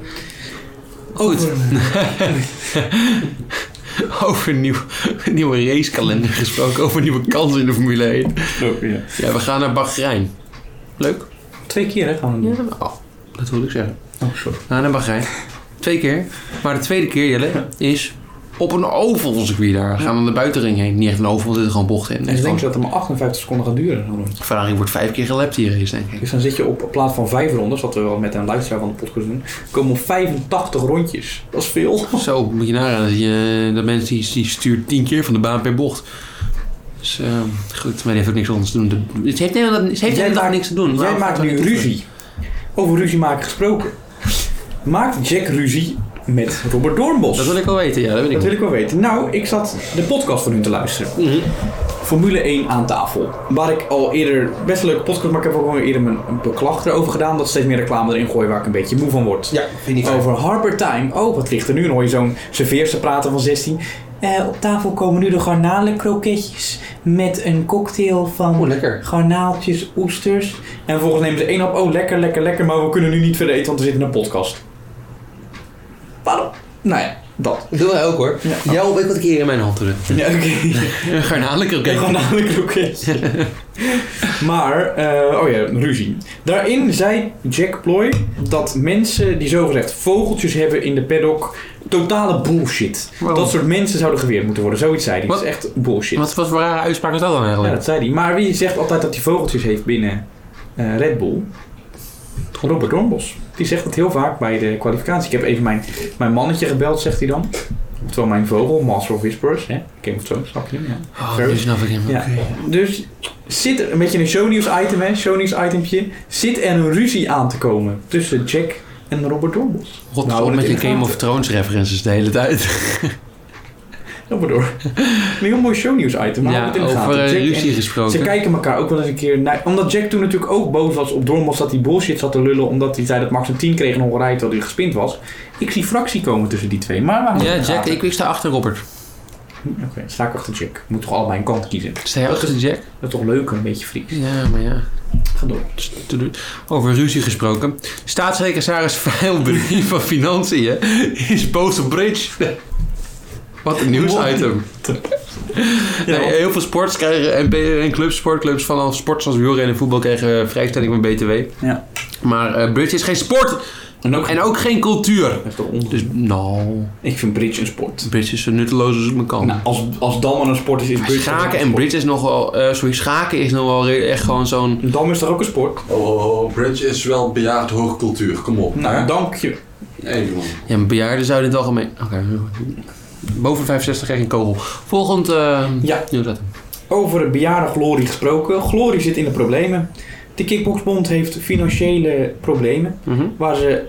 Goed. [laughs] over nieuw, nieuwe racekalender gesproken. Over nieuwe kansen in de Formule 1. Ja, we gaan naar Bahrein. Leuk.
Twee keer hè, gaan we doen.
Oh, dat wilde ik zeggen.
Oh, sorry.
We gaan naar Bahrein. Twee keer. Maar de tweede keer, Jelle, is op een oval circuit daar. We gaan we aan de buitenring heen. Niet echt een oval, er zitten gewoon bochten in.
En
Echt
Dus ik denk
gewoon-
dat het maar 58 seconden gaat duren. zo'n rondje.
Ferrari wordt vijf keer gelapt hier eens, denk ik.
Dus dan zit je op plaats van vijf rondes, wat we wel met een luisteraar van de podcast doen, komen op 85 rondjes. Dat is veel.
Zo, moet je nagaan. Dat, je, dat mensen die, die stuurt tien keer van de baan per bocht. Dus eh, goed, maar die heeft ook niks anders te doen. De- Ze heeft helemaal, ze heeft
Jij
helemaal
maakt-
niks te doen.
Jij
Waarom-
maakt nu ruzie. Over ruzie maken gesproken. Maakt Jack ruzie met Robert Doornbos?
Dat wil ik wel weten, ja, dat weet ik
Dat wil
niet.
ik wel weten. Nou, ik zat de podcast van hun te luisteren. Formule 1 aan tafel. Waar ik al eerder, best een leuke podcast, maar ik heb ook al eerder mijn beklag erover gedaan. Dat ze steeds meer reclame erin gooien waar ik een beetje moe van word.
Ja, vind
Over Harper Time. Oh, wat ligt er nu? Dan hoor je zo'n serveerster praten van 16. Eh, op tafel komen nu de garnalenkroketjes met een cocktail van
Oeh, Oh, lekker.
garnaaltjes, oesters. En vervolgens nemen ze één hap. Oh, lekker, lekker, lekker. Maar we kunnen nu niet verder eten, want we zitten in een podcast. Waarom? Nou ja, dat.
Dat doen wij ook hoor.
Ja.
Jij wil ik wat een keer in mijn hand terug.
Ja, oké.
Een garnalenke, oké.
Garnalen kroketje. [laughs] maar, eh, oh ja, ruzie. Daarin zei Jack Ploy dat mensen die zogezegd vogeltjes hebben in de paddock totale bullshit.
Waarom?
Dat soort mensen zouden geweerd moeten worden. Zoiets zei hij. Dat
Wat?
is echt bullshit.
Wat, wat voor rare uitspraak is dat dan
Ja,
eigenlijk?
dat zei hij. Maar wie zegt altijd dat hij vogeltjes heeft binnen eh, Red Bull? Robert Dornbos. Die zegt dat heel vaak bij de kwalificatie. Ik heb even mijn, mijn mannetje gebeld, zegt hij dan. Oftewel mijn vogel, Master of Whispers. Hè? Game of Thrones, snap je hem? Ja.
Oh, nu snap ik hem.
Ja. Dus zit er een beetje een shownieuws item, hè? Shownieuws itempje. Zit er een ruzie aan te komen tussen Jack en Robert Dorbos?
God,
Nou,
met
dat
je
is
Game
gaaf.
of Thrones references de hele tijd.
Robert door. [laughs] Een heel mooi shownieuws item. maar
Ja,
hou het in de gaten.
over eh,
Jack en-
ruzie
Ze
gesproken.
kijken elkaar ook wel eens een keer naar. Omdat Jack toen natuurlijk ook boos was op Dormos dat hij bullshit zat te lullen. Omdat hij zei dat Max een 10 kreeg in Hongarije terwijl hij gespind was. Ik zie fractie komen tussen die twee. Maar waarom?
Ja, Jack, ik, ik sta achter Robert.
Oké, sta ik achter Jack. Moet toch allebei een kant kiezen.
Sta jij achter Jack?
Dat is toch leuk, een beetje freak.
Ja, maar ja.
Ga door.
Over ruzie gesproken. Staatssecretaris Veilbrief van Financiën is boos op Bridge. Wat een nieuwsitem. Nee, eh, heel veel sports krijgen, en, en clubs, sportclubs van sport zoals wielrennen en voetbal krijgen eh, vrijstelling van BTW.
Ja.
Maar eh, Bridge is geen sport
En ook.
en ook geen cultuur.
Dat is toch onzin.
Dus nou,
Ik vind bridge een sport.
Bridge is zo nutteloos als het me kan.
Nou, als, als Dam een sport is, is bridge
Schaken en bridge is nogal, eh sorry, schaken is nogal re- echt gewoon zo'n...
Dam is toch ook een sport?
Oh, Bridge is wel bejaard hoogcultuur. Kom op.
Nou,
hè?
dank je.
Hey, man.
Ja, maar bejaarden zouden in het algemeen... Oké, boven 65 krijg je een kogel. Volgend eh
Ja.
nieuwsletter.
Over de bejaarde Glory gesproken. Glory zit in de problemen. De Kickboxbond heeft financiële problemen.
Mhm.
Waar ze,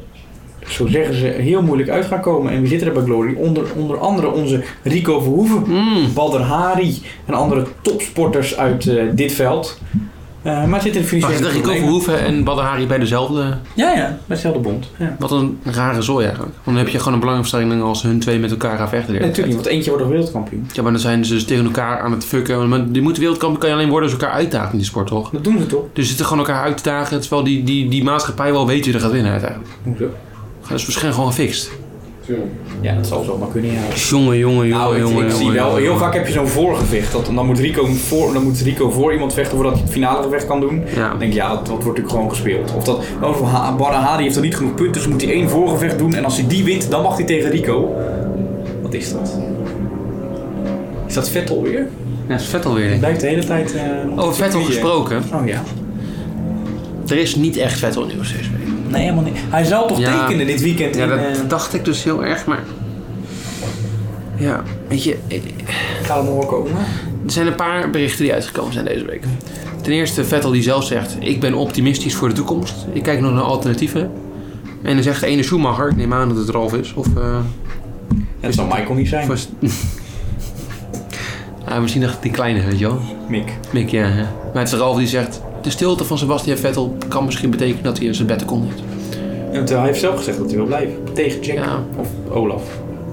zo zeggen ze, heel moeilijk uit gaan komen. En wie zit er bij Glory? Onder, onder andere onze Rico Verhoeven.
Mm.
Badr Hari en andere topsporters uit eh, dit veld. Eh, maar het zit in
Wacht,
financiële
Rico
problemen.
Verhoeven en Badahari bij dezelfde...
Ja, ja, bij dezelfde bond. Ja.
Wat een rare zooi eigenlijk. Want dan heb je gewoon een belangstelling als hun twee met elkaar gaan vechten. de hele
Nee, natuurlijk niet,
tijd.
want eentje wordt nog wereldkampioen.
Ja, maar dan zijn ze dus tegen elkaar aan het fucken. Maar die moet wereldkampioen kan je alleen worden als je elkaar uitdagen in die sport, toch?
Dat doen ze toch?
Dus zitten gewoon elkaar uit te dagen, terwijl die, die, die maatschappij wel weet wie er gaat winnen uiteindelijk.
Hoezo?
Dat
dus
is waarschijnlijk gewoon gefixt.
Ja, dat zal zomaar kunnen, ja.
Jongen, jongen, jongen,
Nou, ik,
jongen.
ik zie
jongen,
wel,
jongen.
heel vaak heb je zo'n voorgevecht. Dat, dan, moet Rico voor, dan moet Rico voor iemand vechten voordat hij het finale gevecht kan doen.
Ja.
Dan denk ik, ja, dat, dat wordt natuurlijk gewoon gespeeld. Of dat, oh, Ha- Barahari heeft er niet genoeg punten, dus moet hij één voorgevecht doen. En als hij die wint, dan mag hij tegen Rico. Wat is dat? Is dat Vettel weer?
Ja, dat is vet alweer.
Het
denk ik.
blijft de hele tijd... eh, op
Over Vettel
circuit, hè?
gesproken.
Oh ja.
Er is niet echt Vettel nieuws deze week.
Nee, helemaal niet. Hij zal toch
Ja.
tekenen dit weekend
Ja,
in...
dat
eh,
dacht ik dus heel erg, maar... Ja, weet je,
Gaat hem horen komen?
er zijn een paar berichten die uitgekomen zijn deze week. Ten eerste Vettel die zelf zegt, ik ben optimistisch voor de toekomst. Ik kijk nog naar alternatieven. En dan zegt de ene Schumacher, ik neem aan dat het Ralf is, of... eh,
Dat zal Michael niet zijn.
Was... [laughs] ah, misschien nog die kleine, weet je wel.
Mick.
Mick, ja. hè. Maar het is Ralf die zegt... De stilte van Sebastian Vettel kan misschien betekenen dat hij in zijn bed kon heeft.
Want, eh, hij heeft zelf gezegd dat hij wil blijven. Tegen Jack.
Ja.
Of Olaf.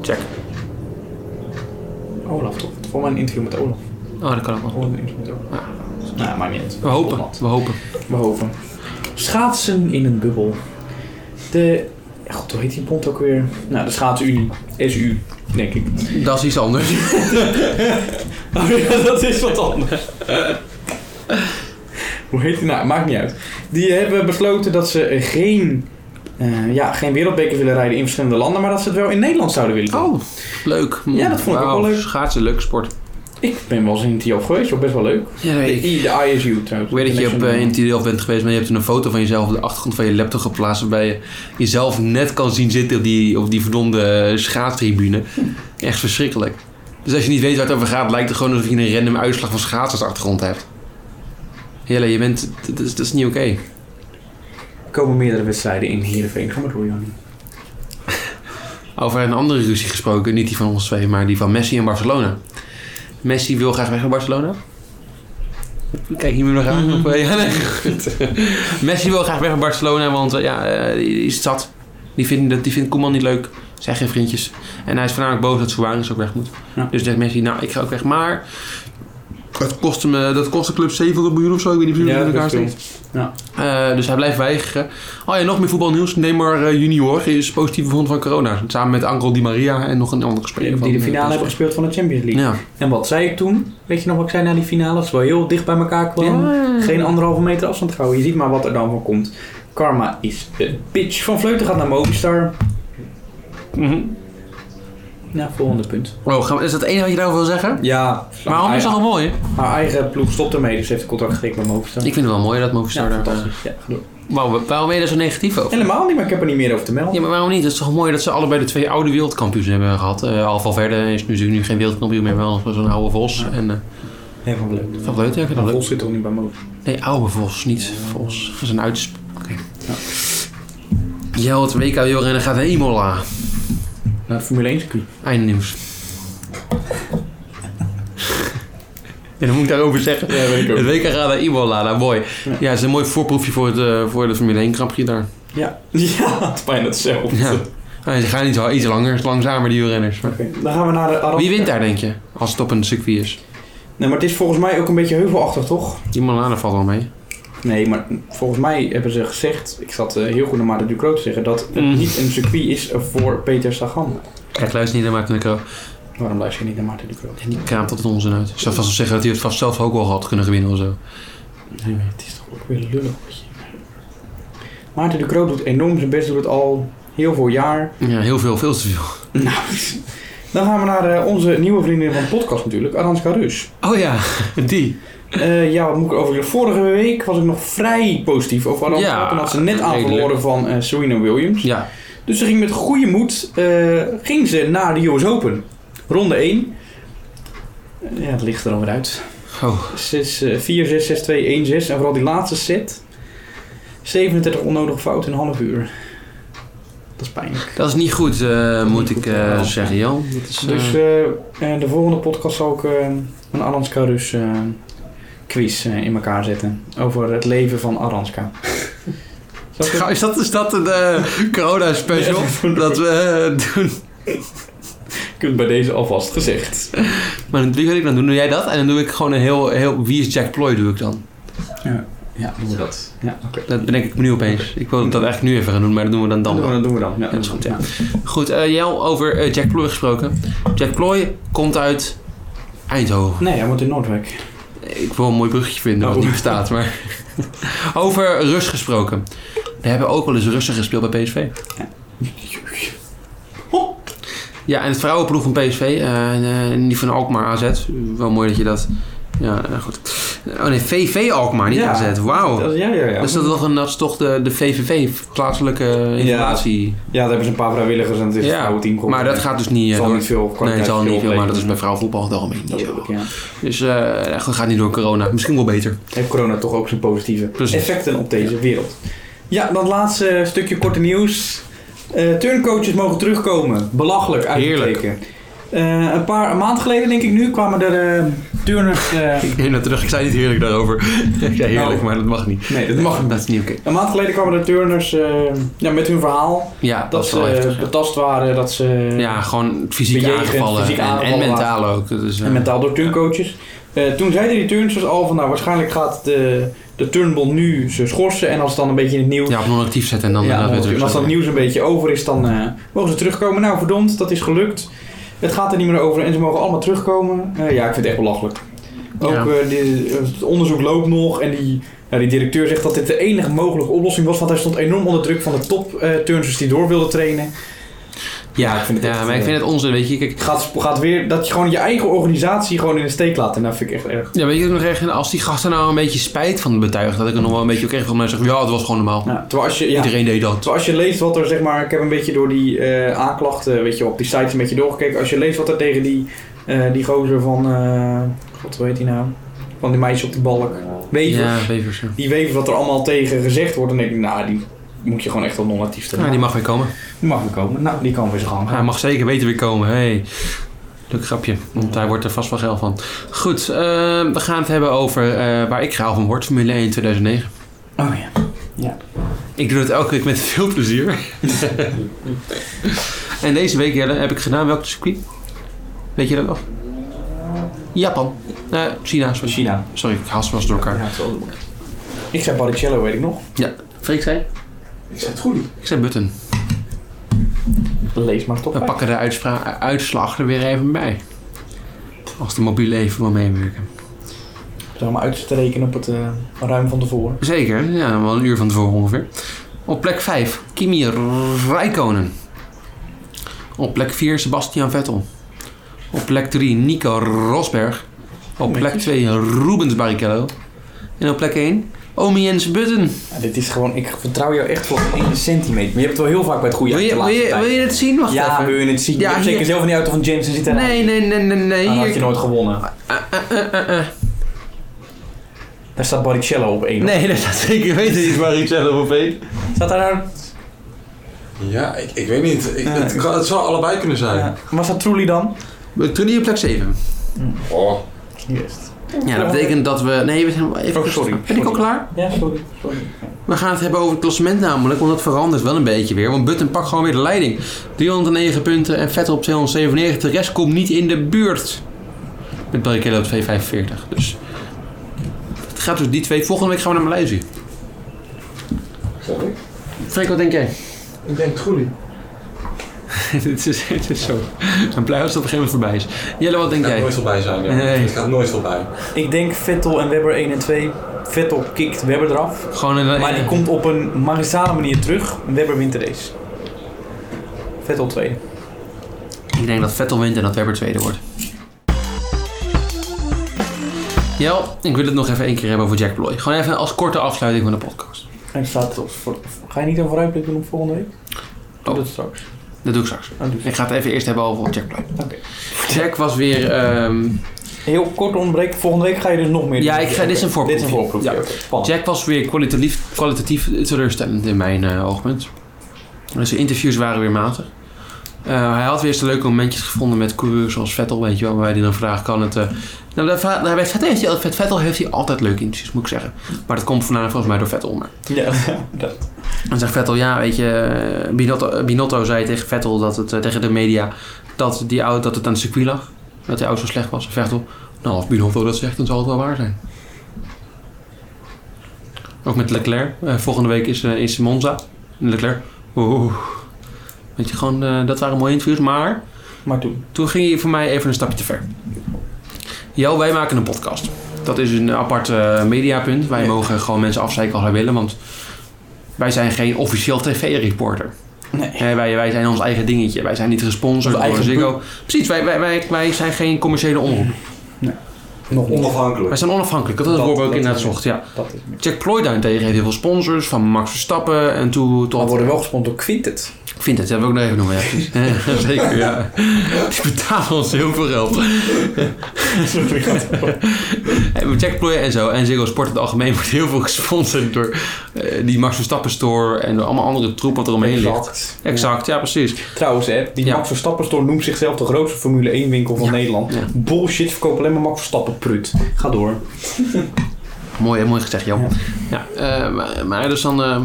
Check.
Olaf toch? Voor mij een interview met Olaf.
Oh, dat kan ook wel.
Voor een interview met Olaf.
Ja.
Nou, maakt niet uit.
Ah. We hopen, we hopen.
We hopen. Schaatsen in een bubbel. De... ja, God, hoe heet die bond ook weer? Nou, de Schaatsunie. SU, denk ik. [laughs]
Dat is iets anders.
Oh ja, dat is wat anders. [laughs] Hoe heet die nou? Maakt niet uit. Die hebben besloten dat ze geen, eh, ja, geen wereldbeker willen rijden in verschillende landen, maar dat ze het wel in Nederland zouden willen doen.
Oh, leuk.
Ja, dat vond ik ook
Wauw,
wel leuk.
Schaatsen, leuk sport.
Ik ben wel eens in Tiof geweest, ook best wel leuk.
Ja, dat weet
De,
ik.
I- de ISU trouwens.
Ik weet dat je op, eh, in
International-
Tideel bent geweest, maar je hebt toen een foto van jezelf op de achtergrond van je laptop geplaatst. Waarbij je jezelf net kan zien zitten op die, op die verdomde eh, schaatstribune.
Hm.
Echt verschrikkelijk. Dus als je niet weet waar het over gaat, lijkt het gewoon alsof je een random uitslag van schaats als achtergrond hebt. Jelle, je bent. Dat is, dat is niet oké.
Er komen meerdere wedstrijden in Heerenveen. Ga maar door, Jan.
Over een andere ruzie gesproken, niet die van ons twee, maar die van Messi en Barcelona. Messi wil graag weg naar Barcelona. Kijk hier nog aan.
Mhm.
Op, eh, [laughs] ja, nee, goed. Messi wil graag weg naar Barcelona, want eh, ja, eh, die is zat. Die vindt, dat- die vindt Koeman niet leuk. Zijn geen vriendjes. En hij is voornamelijk boos dat Suarez ook weg moet.
Ja.
Dus zegt Messi, nou, ik ga ook weg. Maar dat kost, hem, eh, dat kost de club 700 miljoen of zo. Ik weet niet precies
Ja,
hoe het in
dat
elkaar
is
steekt. Eh, dus hij blijft weigeren. Oh ja, nog meer voetbalnieuws. Neymar eh, junior is positief bevonden van corona. Samen met Angel Di Maria en nog een andere speler.
Die de
van, eh,
finale hebben gespeeld van de Champions League.
Ja.
En wat zei ik toen? Weet je nog wat ik zei na die finale? Dat ze wel heel dicht bij elkaar kwamen. Geen anderhalve meter afstand houden. Je ziet maar wat er dan van komt. Karma is een bitch. Van Vleuten gaat naar Movistar.
Mhm.
Ja, volgende punt.
Oh, gaan we- is dat het enige wat je daarover wil zeggen?
Ja,
Maar Hank is toch
haar,
wel mooi, hè?
haar eigen ploeg stopt ermee. Dus heeft een contract gekregen met Movistar.
Ik vind het wel mooi dat
ja,
Movistar daar...
fantastisch. Ja, ga door.
Waarom, waarom ben je daar zo negatief over?
Helemaal niet, maar ik heb er niet meer over te melden.
Ja, maar waarom niet? Het is toch mooi dat ze allebei de twee oude wereldkampioenen hebben gehad. Eh Alval Verde is nu, nu geen wereldkampioen meer, wel zo'n oude vos. En eh
Heel van Vleuten.
van Vleuten, ja, ik vind dat
Maar
leuk.
Vos zit toch niet bij Movistar?
Nee, oude Vos, niet Vos. Dat is een uits... Oké. Jel, het WK wielrennen gaat helemaal aan.
Naar de Formule 1 circuit.
Einde nieuws. En dan moet ik daarover zeggen.
Ja, weet ik
Het WK gaat naar Imola, nou, mooi. Ja.
Ja.
het is een mooi voorproefje voor, het, eh, voor de Formule 1 Grand Prix daar.
Ja, [laughs] ja het is bijna hetzelfde.
Ja. Ah, ze gaan iets, wel iets langer, langzamer die wielrenners. Maar
Oké, dan gaan we naar de Arab-
Wie wint daar, denk je? Als het op een circuit is.
Nee, maar het is volgens mij ook een beetje heuvelachtig, toch?
Imola, daar valt wel mee.
Nee, maar volgens mij hebben ze gezegd... Ik zat eh, heel goed naar Maarten Ducro te zeggen... dat het
Mm.
niet een circuit is voor Peter Sagan.
Kijk, luister niet naar Maarten de Croo.
Waarom luister je niet naar Maarten Ducro?
En die kraamt altijd onzin uit. Ik zou vast wel zeggen dat hij het vast zelf ook wel had kunnen gewinnen of zo.
Nee, maar het is toch ook weer lullig. weet je. Maarten Ducro doet enorm zijn best, doet het al heel veel jaar.
Ja, heel veel, veel te veel.
Nou, [laughs] dan gaan we naar eh, onze nieuwe vriendin van de podcast natuurlijk, Aranska Rus.
Oh ja, [laughs] die.
Eh, ja, wat moet ik over Vorige week was ik nog vrij positief over Aranska.
Ja,
toen had ze net aan
redelijk.
verloren van eh, Serena Williams.
Ja,
Dus ze ging met goede moed eh, ging ze naar de US Open. Ronde 1. Ja, het ligt er dan weer uit.
oh.
6, eh, 4, 6, 6, 2, 1, 6. En vooral die laatste set. 37 onnodige fouten in een half uur. Dat is pijnlijk.
dat is niet goed, eh, moet ik eh,
Ja.
zeggen, Jan. Dat is, eh,
Dus eh, eh, de volgende podcast zal ik eh, een Aranska dus eh, quiz eh, in elkaar zetten. Over het leven
[laughs]
van Aranska. Zal ik het-
Is dat, is dat een [laughs] eh, corona-special? dat we eh, doen.
Ik heb het bij deze alvast gezegd.
[laughs] Maar dan- wie wil ik dan doen? Doe jij dat? En dan doe ik gewoon een heel... heel wie is Jack Ploy doe ik dan?
Ja, doen we dat. Ja, oké.
Dat ben ik nu opeens. Ik wil dat eigenlijk nu even gaan doen, maar dat doen we dan dan.
Dan, dat doen we dan. Ja,
dat is goed, ja. Goed, eh Jel, over eh, Jack Ploy gesproken. Jack Ploy komt uit Eindhoven.
Nee, hij moet in Noordwijk.
Ik wil een mooi bruggetje vinden wat
Oh.
niet bestaat,
[laughs]
maar... over Rus gesproken. We hebben ook wel eens Russen gespeeld bij PSV. Ja, en het vrouwenploeg van PSV, eh, en, eh, en die van Alkmaar AZ. Wel mooi dat je dat... Ja, eh, goed. Oh nee, VV Alkmaar, niet
Ja.
AZ. Wauw.
Dat is- ja, ja, ja.
Dus dat is, toch een, dat is toch de, de VVV, plaatselijke informatie.
Ja, daar hebben ze een paar vrijwilligers en het is
Ja,
een oude team geworden.
Maar dat gaat dus niet eh,
Het zal
door.
niet veel
Nee, het zal niet veel, maar dat is bij
met
vrouwenvoetbal in het algemeen niet zo.
Natuurlijk, ja.
Dus eh, dat gaat niet door corona. Misschien wel beter.
Heeft corona toch ook zijn positieve
Precies.
effecten op deze wereld. Ja, dat laatste stukje korte nieuws. Eh, turncoaches mogen terugkomen. Belachelijk
Heerlijk.
uitgekeken. Eh een paar een maand geleden, denk ik nu, kwamen er eh, turners...
[laughs]
eh,
Ik neem dat terug. Ik zei niet heerlijk daarover. [laughs] Ik zei heerlijk,
Oh.
maar dat mag niet.
nee, dat mag niet.
Dat is niet oké.
Een maand geleden kwamen er turners eh, ja, met hun verhaal.
Ja,
Dat,
dat, is
ze
wel
eh,
heftig.
betast waren, dat ze...
Ja, gewoon fysiek
bejegend,
aangevallen.
fysiek
en, en
aangevallen
mentaal ook. Dat is, eh,
En mentaal door turncoaches. Eh, toen zeiden die turnsters al van nou waarschijnlijk gaat de, de turnbond nu ze schorsen. En als het dan een beetje in het nieuws...
ja, op non-actief zetten en dan
Ja,
inderdaad weer
en
terug.
als dat nieuws een beetje over is, dan eh, mogen ze terugkomen. Nou, verdomd, dat is gelukt. Het gaat er niet meer over en ze mogen allemaal terugkomen. Eh, ja, ik vind het echt belachelijk. Ook
Ja.
eh, die- het onderzoek loopt nog en die, nou, die directeur zegt dat dit de enige mogelijke oplossing was. Want hij stond enorm onder druk van de top eh, turnsters die door wilden trainen.
Ja,
Ik vind het
ja,
echt,
maar ik
eh,
vind het onzin. Weet je, kijk,
Gaat, gaat weer dat je gewoon je eigen organisatie gewoon in de steek laat. En dat vind ik echt erg.
Ja, weet je wat ik nog echt, als die gasten nou een beetje spijt van het betuigen, dat ik er nog wel een beetje ook echt van mij zeg, ja, het was gewoon normaal.
Ja, terwijl als je, ja,
Iedereen deed dat.
Terwijl Dus als je leest wat er, zeg maar, ik heb een beetje door die eh, aanklachten, weet je, op die sites een beetje doorgekeken. Als je leest wat er tegen die, eh, die gozer van, eh, god, hoe heet die nou? Van die meisje op de balk, Wevers.
Ja, Wevers. Ja.
Die Wevers, wat er allemaal tegen gezegd wordt, dan denk ik, nou, die moet je gewoon echt op non-actief stellen.
Ja, die mag weer komen.
Die mag weer komen. Nou, die kan weer zijn gang
Hij
gaan.
mag zeker beter weer komen. Hey. Leuk grapje, want hij wordt er vast wel geil van. Goed, eh, we gaan het hebben over eh, waar ik graag van word, Formule 1 2009.
Oh ja.
Ik doe dat elke week met veel plezier. [laughs] en deze week Jelle, heb ik gedaan welk circuit? Weet je dat nog? Japan. Eh, China, sorry.
China.
Sorry, ik haal ze wel eens door elkaar.
Ja, het wel. Ik zei Baricello, weet ik nog.
Freek zei?
Ik zei het goed.
Ik zei Button.
Lees maar toch
We
uit.
pakken de uitspra- uitslag er weer even bij. Als de mobiele even wil meewerken.
Zeg maar uit te rekenen op het eh, ruim van tevoren.
Zeker, ja, wel een uur van tevoren ongeveer. Op plek 5, Kimi Räikkönen. Op plek 4, Sebastian Vettel. Op plek 3, Nico Rosberg. Op
Netjes.
plek 2, Rubens Barrichello. En op plek 1, Omi Jens Button.
Ja, dit is gewoon, ik vertrouw jou echt voor één centimeter. Maar je hebt het wel heel vaak bij het goede
wil,
uit
je,
de
wil,
laatste
je,
tijd.
wil je het zien? Wacht
Ja,
even.
wil je het zien?
Ja,
je hebt
hier-
zeker zelf in die auto van Jameson zitten.
Nee, nee, nee, nee, nee.
Dan Ah, had je
hier-
nooit gewonnen.
Eh, eh, eh, eh, eh.
Daar staat Baricello op één.
Nee, [laughs] dat is zeker weten niet Barrichello op één.
Staat daar nou...
Ja, ik, ik weet niet. Ik, het, kan- het zou allebei kunnen zijn.
Ja. Was dat Trulli dan?
Toen hier op plek 7.
Oh.
Yes.
Ja, dat betekent dat we. Nee, we zijn wel even.
Oh, sorry.
Ben ik al
Sorry.
klaar?
Ja, sorry. sorry.
We gaan het hebben over het klassement namelijk, want dat verandert wel een beetje weer. Want Button pakt gewoon weer de leiding. 309 punten en Vettel op 297. De rest komt niet in de buurt. Met Barrichello op 245. Dus. Het gaat dus die twee. Volgende week gaan we naar Maleisië.
Sorry.
Freek, wat denk jij? [laughs]
Ik denk Troelie.
het, is, het is zo. Ik ben blij als het op een gegeven moment voorbij is. Jelle, wat
Het
denk
gaat
jij?
nooit voorbij zijn. Ja.
Nee.
Het gaat nooit voorbij.
Ik denk Vettel en Webber 1 en 2. Vettel kikt Webber eraf.
Gewoon een.
Maar die komt op een magistrale manier terug. Webber wint de race. Vettel 2.
Ik denk dat Vettel wint en dat Webber tweede wordt. Jel, ik wil het nog even één keer hebben over Jack Ploy. Gewoon even als korte afsluiting van de podcast.
En staat op voor... Ga je niet een vooruitblik doen op volgende week? Doe
Oh.
dat straks.
Dat doe ik straks.
Oh, doe
Ik ga het even eerst hebben over Jack Ploy.
Oké.
Jack was weer... ehm,
Heel kort ontbreken. Volgende week ga je dus nog meer
Ja,
doen.
ik ga- dit is een
Oké. Dit is een
voorproefje.
voorproefje.
Ja.
oké. Spannend.
Jack was weer kwalitatief, kwalitatief teleurstellend in mijn eh, oogpunt. Dus de interviews waren weer matig. Eh, hij had weer eens de leuke momentjes gevonden met coureurs zoals Vettel, weet je wel, waarbij hij dan vraagt, kan het... eh, nou, daar, vra- nou, bij Vettel heeft, hij, met Vettel heeft hij altijd leuke interviews, moet ik zeggen. Maar dat komt voornamelijk volgens mij door Vettel. Maar.
Ja, [laughs] dat.
Dan zegt Vettel, ja, weet je, eh, Binotto, eh, Binotto zei tegen Vettel, dat het, eh, tegen de media, dat, die auto, dat het aan het circuit lag. Dat die auto zo slecht was. Vettel, nou, als Binotto dat zegt, dan zal het wel waar zijn. Ook met Leclerc. Eh, volgende week is, eh, is Monza. Leclerc, oeh. Weet je, gewoon, eh, dat waren mooie interviews, maar...
Maar toen.
Toen ging je voor mij even een stapje te ver. Jo, wij maken een podcast. Dat is een apart eh, mediapunt. Wij
Ja.
mogen gewoon mensen afzeiken als wij willen, want wij zijn geen officieel tv-reporter.
Nee.
Hè, wij, wij zijn ons eigen dingetje. Wij zijn niet gesponsord
Ons
door
eigen
Ziggo. Precies, wij, wij, wij, wij zijn geen commerciële omroep.
Nog niet.
Wij
Onafhankelijk.
zijn onafhankelijk. Dat is het
Dat-
woord waar ik
dat
inderdaad
is het.
zocht, ja.
Dat is meer.
Jack Ploy daarentegen heeft heel veel sponsors, van Max Verstappen en toe
We
tot...
worden wel gesponsord
[laughs]
door Quintet.
Ik vind het, dat wil ik nog even noemen, ja, precies.
[laughs]
Ja, [laughs] Zeker, ja. Die betalen ons heel veel geld. Hey, maar Jack Ploy en zo en Ziggo Sport in het algemeen [laughs] wordt heel veel gesponsord door eh, die Max Verstappen store en door allemaal andere troep wat er omheen ligt.
Exact.
Exact, ja precies.
Ja. Trouwens, hè, die
Ja.
Max Verstappen store noemt zichzelf de grootste Formule 1 winkel van
Ja.
Nederland.
Ja.
Bullshit, verkoop alleen maar Max Verstappen prut. Ga
[laughs]
door.
Mooi, hè? mooi gezegd, Jan. Ja, eh, maar, maar dus dan, eh,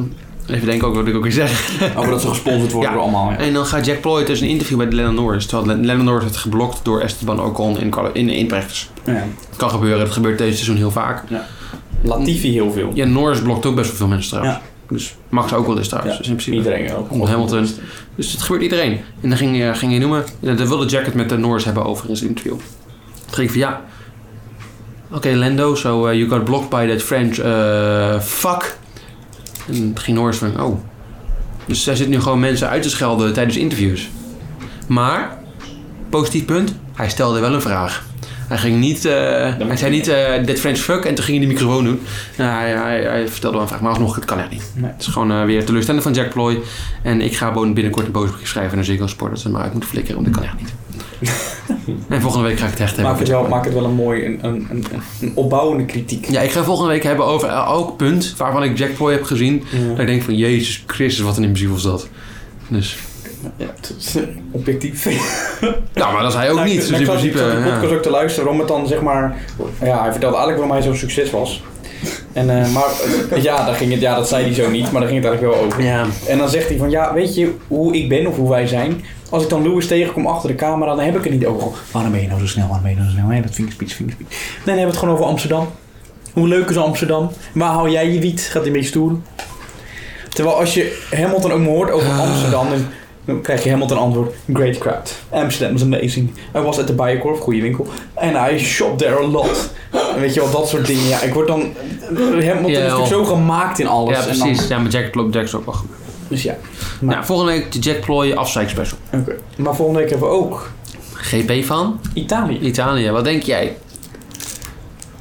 even denken ook wat ik ook weer zeg.
Over dat ze gesponsord worden
Ja.
door allemaal.
En dan gaat Jack Ploy dus een interview bij Lennon Norris, terwijl Lennon Norris werd geblokt door Esteban Ocon in, kwali- in, in practice.
Ja.
Het kan gebeuren, dat gebeurt deze seizoen heel vaak.
Latifi heel veel.
Ja, Norris blokt ook best wel veel mensen trouwens. Dus Max ook wel eens trouwens.
Ja,
Dus in principe.
Iedereen ook.
Hamilton. Hamilton. Dus het gebeurt iedereen. En dan ging, eh, ging je noemen, ja, dat wilde Jack het met de Norris hebben over in zijn interview. Toen ging ik van ja. Oké, Lando, so eh, you got blocked by that French eh, fuck. En toen ging Norris van oh. Dus hij zit nu gewoon mensen uit te schelden tijdens interviews. Maar, positief punt, hij stelde wel een vraag. Hij ging niet, eh, hij zei niet eh that French fuck en toen ging hij de microfoon doen. Nou, hij, hij, hij vertelde wel een vraag, maar alsnog, het kan echt niet.
Nee.
Het is gewoon eh, weer teleurstellend van Jack Ploy. En ik ga gewoon binnenkort een boosbrief schrijven naar Ziggo Sport dat ze hem maar uit moeten flikkeren, want dat kan echt niet. en volgende week ga ik het echt hebben.
Maak het,
over Jack Ploy.
wel, maak het wel een mooi, een, een, een, een opbouwende kritiek.
Ja, ik ga volgende week hebben over eh, elk punt waarvan ik Jack Ploy heb gezien. Dat ik denk van, jezus Christus, wat een imbecil was dat. Dus,
Ja, het is objectief.
ja, maar dat is hij ook
Nou, ik-
niet. Dus
nou,
in
ik zat-
principe,
Ik zat die
ja.
podcast ook te luisteren om het dan zeg maar... Ja, hij vertelde eigenlijk waarom hij zo'n succes was. En, eh, maar eh, ja, daar ging het, ja, dat zei hij zo niet, maar daar ging het eigenlijk wel over.
Ja.
En dan zegt hij van, ja, weet je hoe ik ben of hoe wij zijn? Als ik dan Lewis tegenkom achter de camera, dan heb ik het niet over... Waarom ben je nou zo snel, waarom ben je nou zo snel? Hè, dat vingerspits, vingerspits. Nee, dan hebben we het gewoon over Amsterdam. Hoe leuk is Amsterdam? Waar haal jij je wiet? Gaat hij een beetje stoer. Terwijl als je Hamilton ook maar hoort over
Ah.
Amsterdam, dan, dan krijg je Hamilton antwoord. Great crowd. Amsterdam is amazing. I was at the Bijenkorf, goede winkel. And I shop there a lot. En weet je wel, dat soort dingen. Ja, ik word dan... Hamilton is
Ja,
natuurlijk zo gemaakt in alles.
Ja,
En dan-
precies. Ja, maar Jack Ploy Jack is ook wel goed.
dus ja. Maar-
Nou, volgende week de Jack Ploy afzeikspecial.
Oké. Maar volgende week hebben we ook
GP van
Italië.
Italië. Wat denk jij?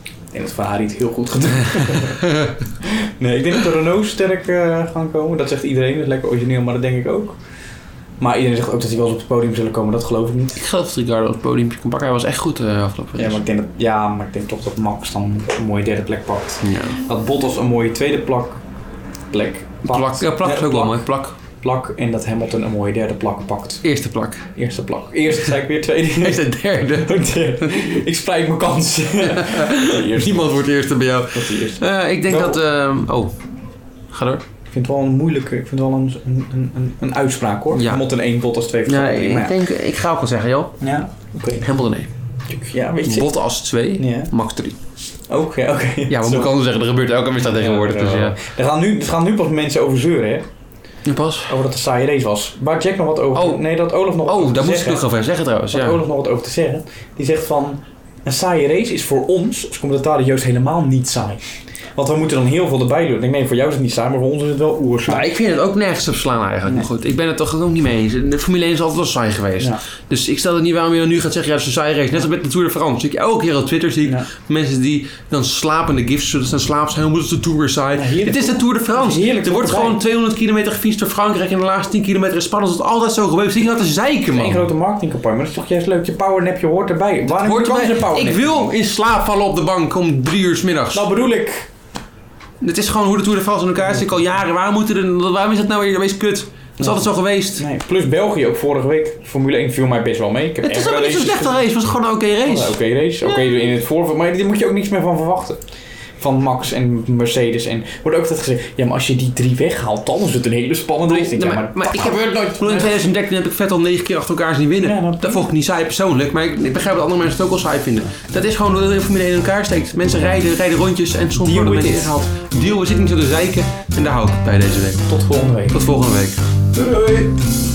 Ik denk dat Ferrari het heel goed gedaan [laughs] Nee, ik denk dat de Renault sterk eh, gaan komen. Dat zegt iedereen. Dat is lekker origineel, maar dat denk ik ook. Maar iedereen zegt ook dat die wel eens op het podium zullen komen. Dat geloof ik niet.
Ik geloof dat Ricardo het podium kon pakken. Hij was echt goed eh afgelopen
Ja, maar ik denk, dat, ja, maar ik denk toch dat Max dan een mooie derde plek pakt.
Ja.
Dat Bottas een mooie tweede plak, plek pakt.
Plak, ja, plak is
Ja,
ook wel
plak.
mooi. Plak.
Plak en dat Hamilton een mooie derde plak pakt.
Eerste [laughs] plak.
Eerste plak. Eerst zei ik weer
[laughs]
tweede.
Is de derde.
[laughs] ik spreid mijn kans.
[laughs]
Eerst
Niemand wordt eerste bij jou.
dat die eerste.
Eh, ik denk
Wel.
dat... ehm, oh, ga door.
Ik vind het wel een moeilijke, ik vind het wel een, een, een, een, een uitspraak hoor.
Ja.
Hamilton 1, Bottas 2,
Ja,
Verstappen één,
ik,
maar
denk, ik ga ook wel zeggen, joh.
ja. Ja, oké.
Hamilton 1.
Ja, weet je.
Bottas 2.
Ja.
Max 3.
Oké, oké.
Ja, wat moet ik anders zeggen? Er gebeurt elke misdaad tegenwoordig. Dus ja.
Er gaan, nu, er gaan nu pas mensen over zeuren, hè?
Nu pas.
Over dat de saaie race was. Waar Jack nog wat over.
Oh.
Nee, dat Olaf nog wat
Oh,
over
daar
te
moest ik
zeggen.
nog over zeggen trouwens.
Daar had
Ja.
Olaf nog wat over te zeggen. Die zegt van. Een saaie race is voor ons als commentatoren juist helemaal niet saai. Want we moeten dan heel veel erbij doen. Ik denk, nee, voor jou is het niet saai, maar voor ons is het wel
Maar
oerzaai.
ik vind het ook nergens op slaan eigenlijk. Maar goed, ik ben het toch ook niet mee eens. De Formule 1 is altijd wel saai geweest.
Ja.
Dus ik stel het niet waarom je dan nu gaat zeggen, ja, het is een saai race. Net als met de Tour de France. Zie ik elke keer op Twitter zie ik
Ja.
mensen die dan slapende gifts, zodat ze dan slaap zijn, hoe moeten ze de Tour weer saai?
Ja, heerlijk.
het is de Tour de France.
Heerlijk
er wordt
voorbij.
gewoon 200 kilometer gefietst door Frankrijk en de laatste 10 kilometer is spannend. Dat is altijd zo gebeurd. Zie je dat te zeiken,
Geen
man?
grote marketingcampagne, maar dat is toch juist leuk. Je powernapje hoort erbij. Waarom
Hoort
kan
erbij.
ze een powernap?
ik wil in slaap vallen op de bank om drie uur 's middags.
Nou bedoel ik.
Het is gewoon hoe de Tour de France in elkaar zit al jaren. Waarom, moeten er, waarom is dat nou weer de meest kut? is altijd zo geweest.
Nee, plus België ook vorige week. Formule 1 viel mij best wel mee. Ik heb
Het
echt
is helemaal
wel
niet zo'n
races
slechte race. Het was gewoon een oké
gezien. Oh,
race.
Oké, race. Oké, in het voorveld. Maar daar moet je ook niks meer van verwachten. Van Max en Mercedes. En wordt ook altijd gezegd: ja, maar als je die drie weghaalt, dan is het een hele spannende race. Ik denk,
Nee,
Ja,
maar-
maar,
maar
dat
ik heb-
gebeurt nooit.
Ik bedoel, In 2013 heb ik vet al negen keer achter elkaar zien winnen.
Ja,
dat,
dat-
vond ik niet saai persoonlijk, maar ik, ik begrijp dat andere mensen het ook wel saai vinden. Dat is gewoon hoe de Formule 1 in elkaar steekt. Mensen rijden, rijden rondjes en soms
Deal
worden
with
mensen
it.
ingehaald. Deal, we zitten niet zo te zeiken. En daar hou ik het bij deze week.
Tot volgende week.
Tot volgende week.
Doei!